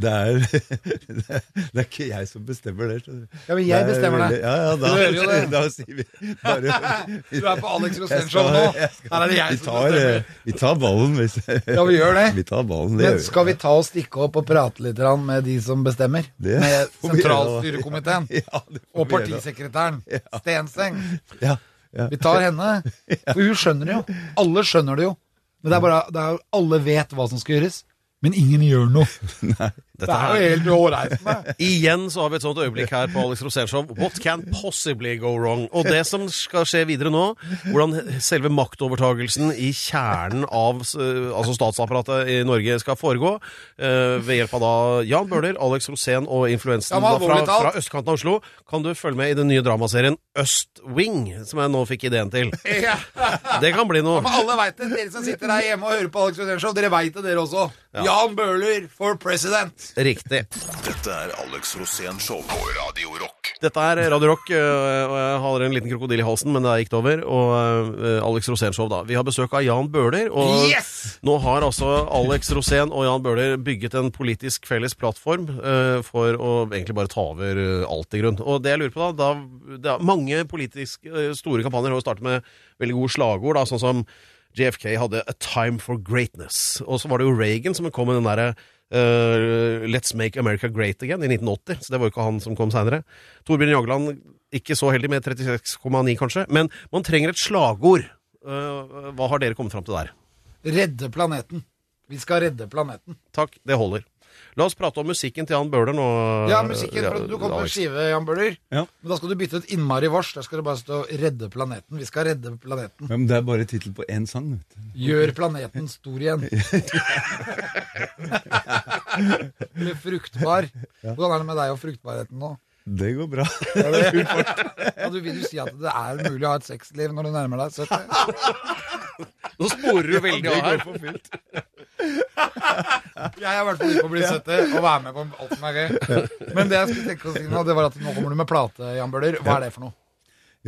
[SPEAKER 4] Det er, det, er, det er ikke jeg som bestemmer det. skjønner du.
[SPEAKER 2] Ja, men jeg
[SPEAKER 4] Det er
[SPEAKER 2] bestemmer det.
[SPEAKER 4] veldig- Ja, ja, da,
[SPEAKER 2] Du hører jo det.
[SPEAKER 4] da sier vi bare
[SPEAKER 2] Du er på Alex
[SPEAKER 4] Jeg
[SPEAKER 2] Rosén-show
[SPEAKER 4] skal-
[SPEAKER 2] nå.
[SPEAKER 4] jeg skal-
[SPEAKER 2] Her er det
[SPEAKER 4] vi
[SPEAKER 2] jeg som
[SPEAKER 4] tar, eh,
[SPEAKER 2] bestemmer.
[SPEAKER 4] Vi tar ballen, hvis
[SPEAKER 2] Ja, vi gjør det.
[SPEAKER 4] Vi tar ballen, det
[SPEAKER 2] Men
[SPEAKER 4] gjør vi.
[SPEAKER 2] skal vi ta og stikke opp og prate litt grann med de som bestemmer?
[SPEAKER 4] Det
[SPEAKER 2] Med
[SPEAKER 4] får vi gjøre,
[SPEAKER 2] sentralstyrekomiteen
[SPEAKER 4] Ja, det får
[SPEAKER 2] og
[SPEAKER 4] vi gjøre.
[SPEAKER 2] partisekretæren Stenseng.
[SPEAKER 4] Ja, ja.
[SPEAKER 2] Vi tar henne. For hun skjønner det jo. Alle skjønner det jo. Men det er bare, det er, jo- alle vet hva som skal gjøres, men ingen gjør noe. Det
[SPEAKER 1] Dette
[SPEAKER 2] er
[SPEAKER 1] her.
[SPEAKER 2] jo helt hårreisende.
[SPEAKER 1] Igjen så har vi et sånt øyeblikk her på Alex Rosénshow. What can possibly go wrong? Og det som skal skje videre nå, hvordan selve maktovertagelsen i kjernen av eh, altså statsapparatet i Norge skal foregå, eh, ved hjelp av da Jan Bøhler, Alex Rosén og influensen
[SPEAKER 2] Ja, men
[SPEAKER 1] da fra,
[SPEAKER 2] alvorlig talt.
[SPEAKER 1] fra østkanten av Oslo, kan du følge med i den nye dramaserien Øst Wing, som jeg nå fikk ideen til.
[SPEAKER 2] Ja.
[SPEAKER 1] Det kan bli
[SPEAKER 2] Men
[SPEAKER 1] noe.
[SPEAKER 2] alle vet det. Dere som sitter der hjemme og hører på Alex Rosén Show, dere vet det, dere også. Jan Bøhler for president.
[SPEAKER 1] Riktig.
[SPEAKER 3] Dette er Alex Rosén Show på Radio Rock.
[SPEAKER 1] Dette er Radio Rock, øh, og jeg har en liten krokodill i halsen, men det gikk det over. Og øh, Alex Rosénshow, da. Vi har besøk av Jan Bøhler. Og
[SPEAKER 2] Yes!
[SPEAKER 1] nå har altså Alex Rosén og Jan Bøhler bygget en politisk felles plattform øh, for å egentlig bare ta over øh, alt, i grunn. Og det jeg lurer på, da, da det er Mange politisk øh, store kampanjer har jo startet med veldig gode slagord, da, sånn som JFK hadde 'A Time for Greatness'. Og så var det jo Reagan som kom med den derre eh, 'Let's Make America Great Again' i 1980. Så det var jo ikke han som kom seinere. Torbjørn Jagland ikke så heldig med 36,9, kanskje. Men man trenger et slagord. Eh, hva har dere kommet fram til der?
[SPEAKER 2] Redde planeten. Vi skal redde planeten.
[SPEAKER 1] Takk, det holder. La oss prate om musikken til Jan Bøhler nå.
[SPEAKER 2] Ja, musikken.
[SPEAKER 1] ja,
[SPEAKER 2] for Du kom på en
[SPEAKER 1] Alex.
[SPEAKER 2] skive, Jan Bøhler.
[SPEAKER 4] Ja.
[SPEAKER 2] Men da skal du bytte ut innmari vårs. Der skal det bare stå 'Redde planeten'. Vi skal redde planeten.
[SPEAKER 4] Ja, men det er bare tittel på én sang. Vet du.
[SPEAKER 2] Gjør planeten stor igjen. Bli fruktbar. Hvordan er det med deg og fruktbarheten nå?
[SPEAKER 4] Det går bra.
[SPEAKER 2] Ja, du vil jo si at det er mulig å ha et sexliv når du nærmer deg 70.
[SPEAKER 1] Nå sporer du veldig av her.
[SPEAKER 2] Jeg er i hvert fall ute på å bli 70 og være med på alt som er gøy. Men det jeg skulle tenke å si nå, det var at nå kommer du med plate, Jan Bøhler. Hva er det for noe?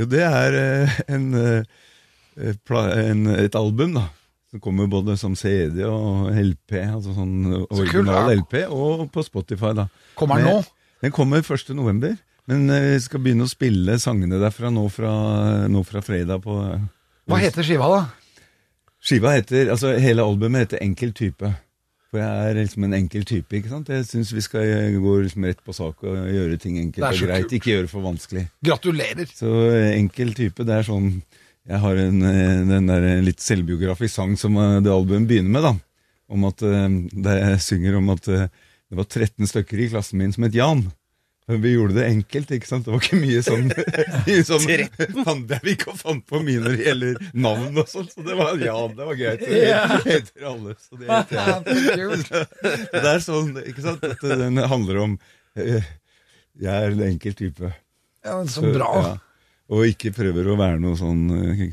[SPEAKER 4] Jo, det er eh, en, eh, pla en, et album, da. Som kommer både som CD og LP, altså sånn
[SPEAKER 2] Så kult,
[SPEAKER 4] original
[SPEAKER 2] ja.
[SPEAKER 4] LP, og på Spotify, da.
[SPEAKER 2] Kommer den
[SPEAKER 4] Med-
[SPEAKER 2] nå?
[SPEAKER 4] Den kommer 1. november. Men eh, vi skal begynne å spille sangene derfra nå fra, nå fra fredag på eh,
[SPEAKER 2] Hva heter skiva, da?
[SPEAKER 4] Skiva heter, altså hele albumet heter Enkel type. For jeg er liksom en enkel type, ikke sant? Jeg syns vi skal gå liksom rett på sak og gjøre ting
[SPEAKER 2] Det er
[SPEAKER 4] enkelt og
[SPEAKER 2] så
[SPEAKER 4] greit.
[SPEAKER 2] kult.
[SPEAKER 4] Ikke gjøre det for vanskelig.
[SPEAKER 2] Gratulerer.
[SPEAKER 4] Så eh, enkel type, det er sånn Jeg har en, eh, den der eh, litt selvbiografisk sang som eh, det albumet begynner med, da. Om at, eh, der jeg synger om at eh, det var 13 stykker i klassen min som het Jan. Men Vi gjorde det enkelt, ikke sant? Det var ikke mye sånn, mye sånn Fan, Det er vi ikke fant på mye når det gjelder navn og sånn, så det var Jan. Det var greit. Det heter alle, så det heter jeg.
[SPEAKER 2] Kult.
[SPEAKER 4] Det er sånn, ikke sant? At eh, den handler om eh, Jeg er en enkel type.
[SPEAKER 2] Ja, men så
[SPEAKER 4] Så,
[SPEAKER 2] bra.
[SPEAKER 4] ja. Og ikke prøver å være noe sånn eh,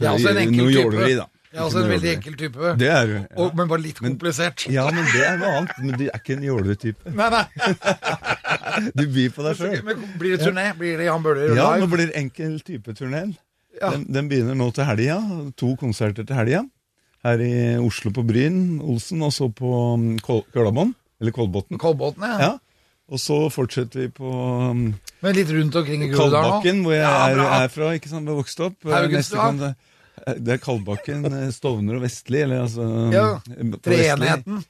[SPEAKER 2] Jeg er også en enkel
[SPEAKER 4] Noe
[SPEAKER 2] type.
[SPEAKER 4] jåleri, da.
[SPEAKER 2] Jeg er også en veldig enkel type.
[SPEAKER 4] Det er du. Ja.
[SPEAKER 2] Og, men bare litt komplisert.
[SPEAKER 4] ja, men det er noe annet. Men du er ikke en jåletype.
[SPEAKER 2] Nei, nei.
[SPEAKER 4] Du byr på deg sjøl.
[SPEAKER 2] Men blir det turné? Blir det Jan Bøhler
[SPEAKER 4] Ja, nå
[SPEAKER 2] live?
[SPEAKER 4] blir enkel type-turneen.
[SPEAKER 2] Ja.
[SPEAKER 4] Den, den begynner nå til helga. To konserter til helga. Her i Oslo på Bryn, Olsen, og så på mm, Kol- Kølabånd. Eller Kolbotn.
[SPEAKER 2] Kolbotn, ja.
[SPEAKER 4] Ja. Og så fortsetter vi på mm,
[SPEAKER 2] Men litt rundt omkring i Groruddalen nå?
[SPEAKER 4] Kalbakken, hvor jeg
[SPEAKER 2] Ja,
[SPEAKER 4] er,
[SPEAKER 2] bra.
[SPEAKER 4] er fra, ikke sant, hvor jeg vokste opp. Eh,
[SPEAKER 2] Haugenstua.
[SPEAKER 4] Neste kan det- Det er Kalbakken, eh, Stovner og Vestli, eller altså
[SPEAKER 2] Ja,
[SPEAKER 4] på Vestli.
[SPEAKER 2] Treenigheten.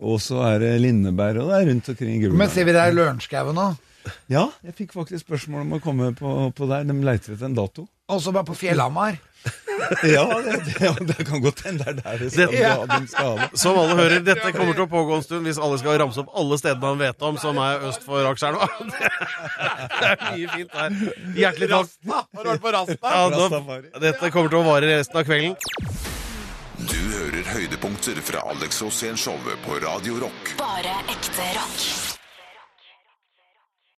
[SPEAKER 4] Og så er det Lindeberg, og det er rundt omkring i
[SPEAKER 2] Men
[SPEAKER 4] Groruddalen.
[SPEAKER 2] ser vi deg i Lørenskauen nå?
[SPEAKER 4] Ja, jeg fikk faktisk spørsmål om å komme på, på der. De leiter etter en dato.
[SPEAKER 2] Og så bare på Fjellhamar?
[SPEAKER 4] Ja, det, det, ja, det kan godt hende det er der det skal,
[SPEAKER 1] Det-
[SPEAKER 4] de skal ha det.
[SPEAKER 1] Som alle hører, dette kommer til å pågå en stund hvis alle skal ramse opp alle stedene han vet om som er øst for Akerselva. Det er mye fint der. Hjertelig takk.
[SPEAKER 2] Har du vært på Rasta?
[SPEAKER 1] Ja, nå,
[SPEAKER 4] Rastafari.
[SPEAKER 1] dette kommer til å vare resten av kvelden.
[SPEAKER 3] Du hører høydepunkter fra Alex Rosén-showet på Radio Rock.
[SPEAKER 6] Bare ekte rock.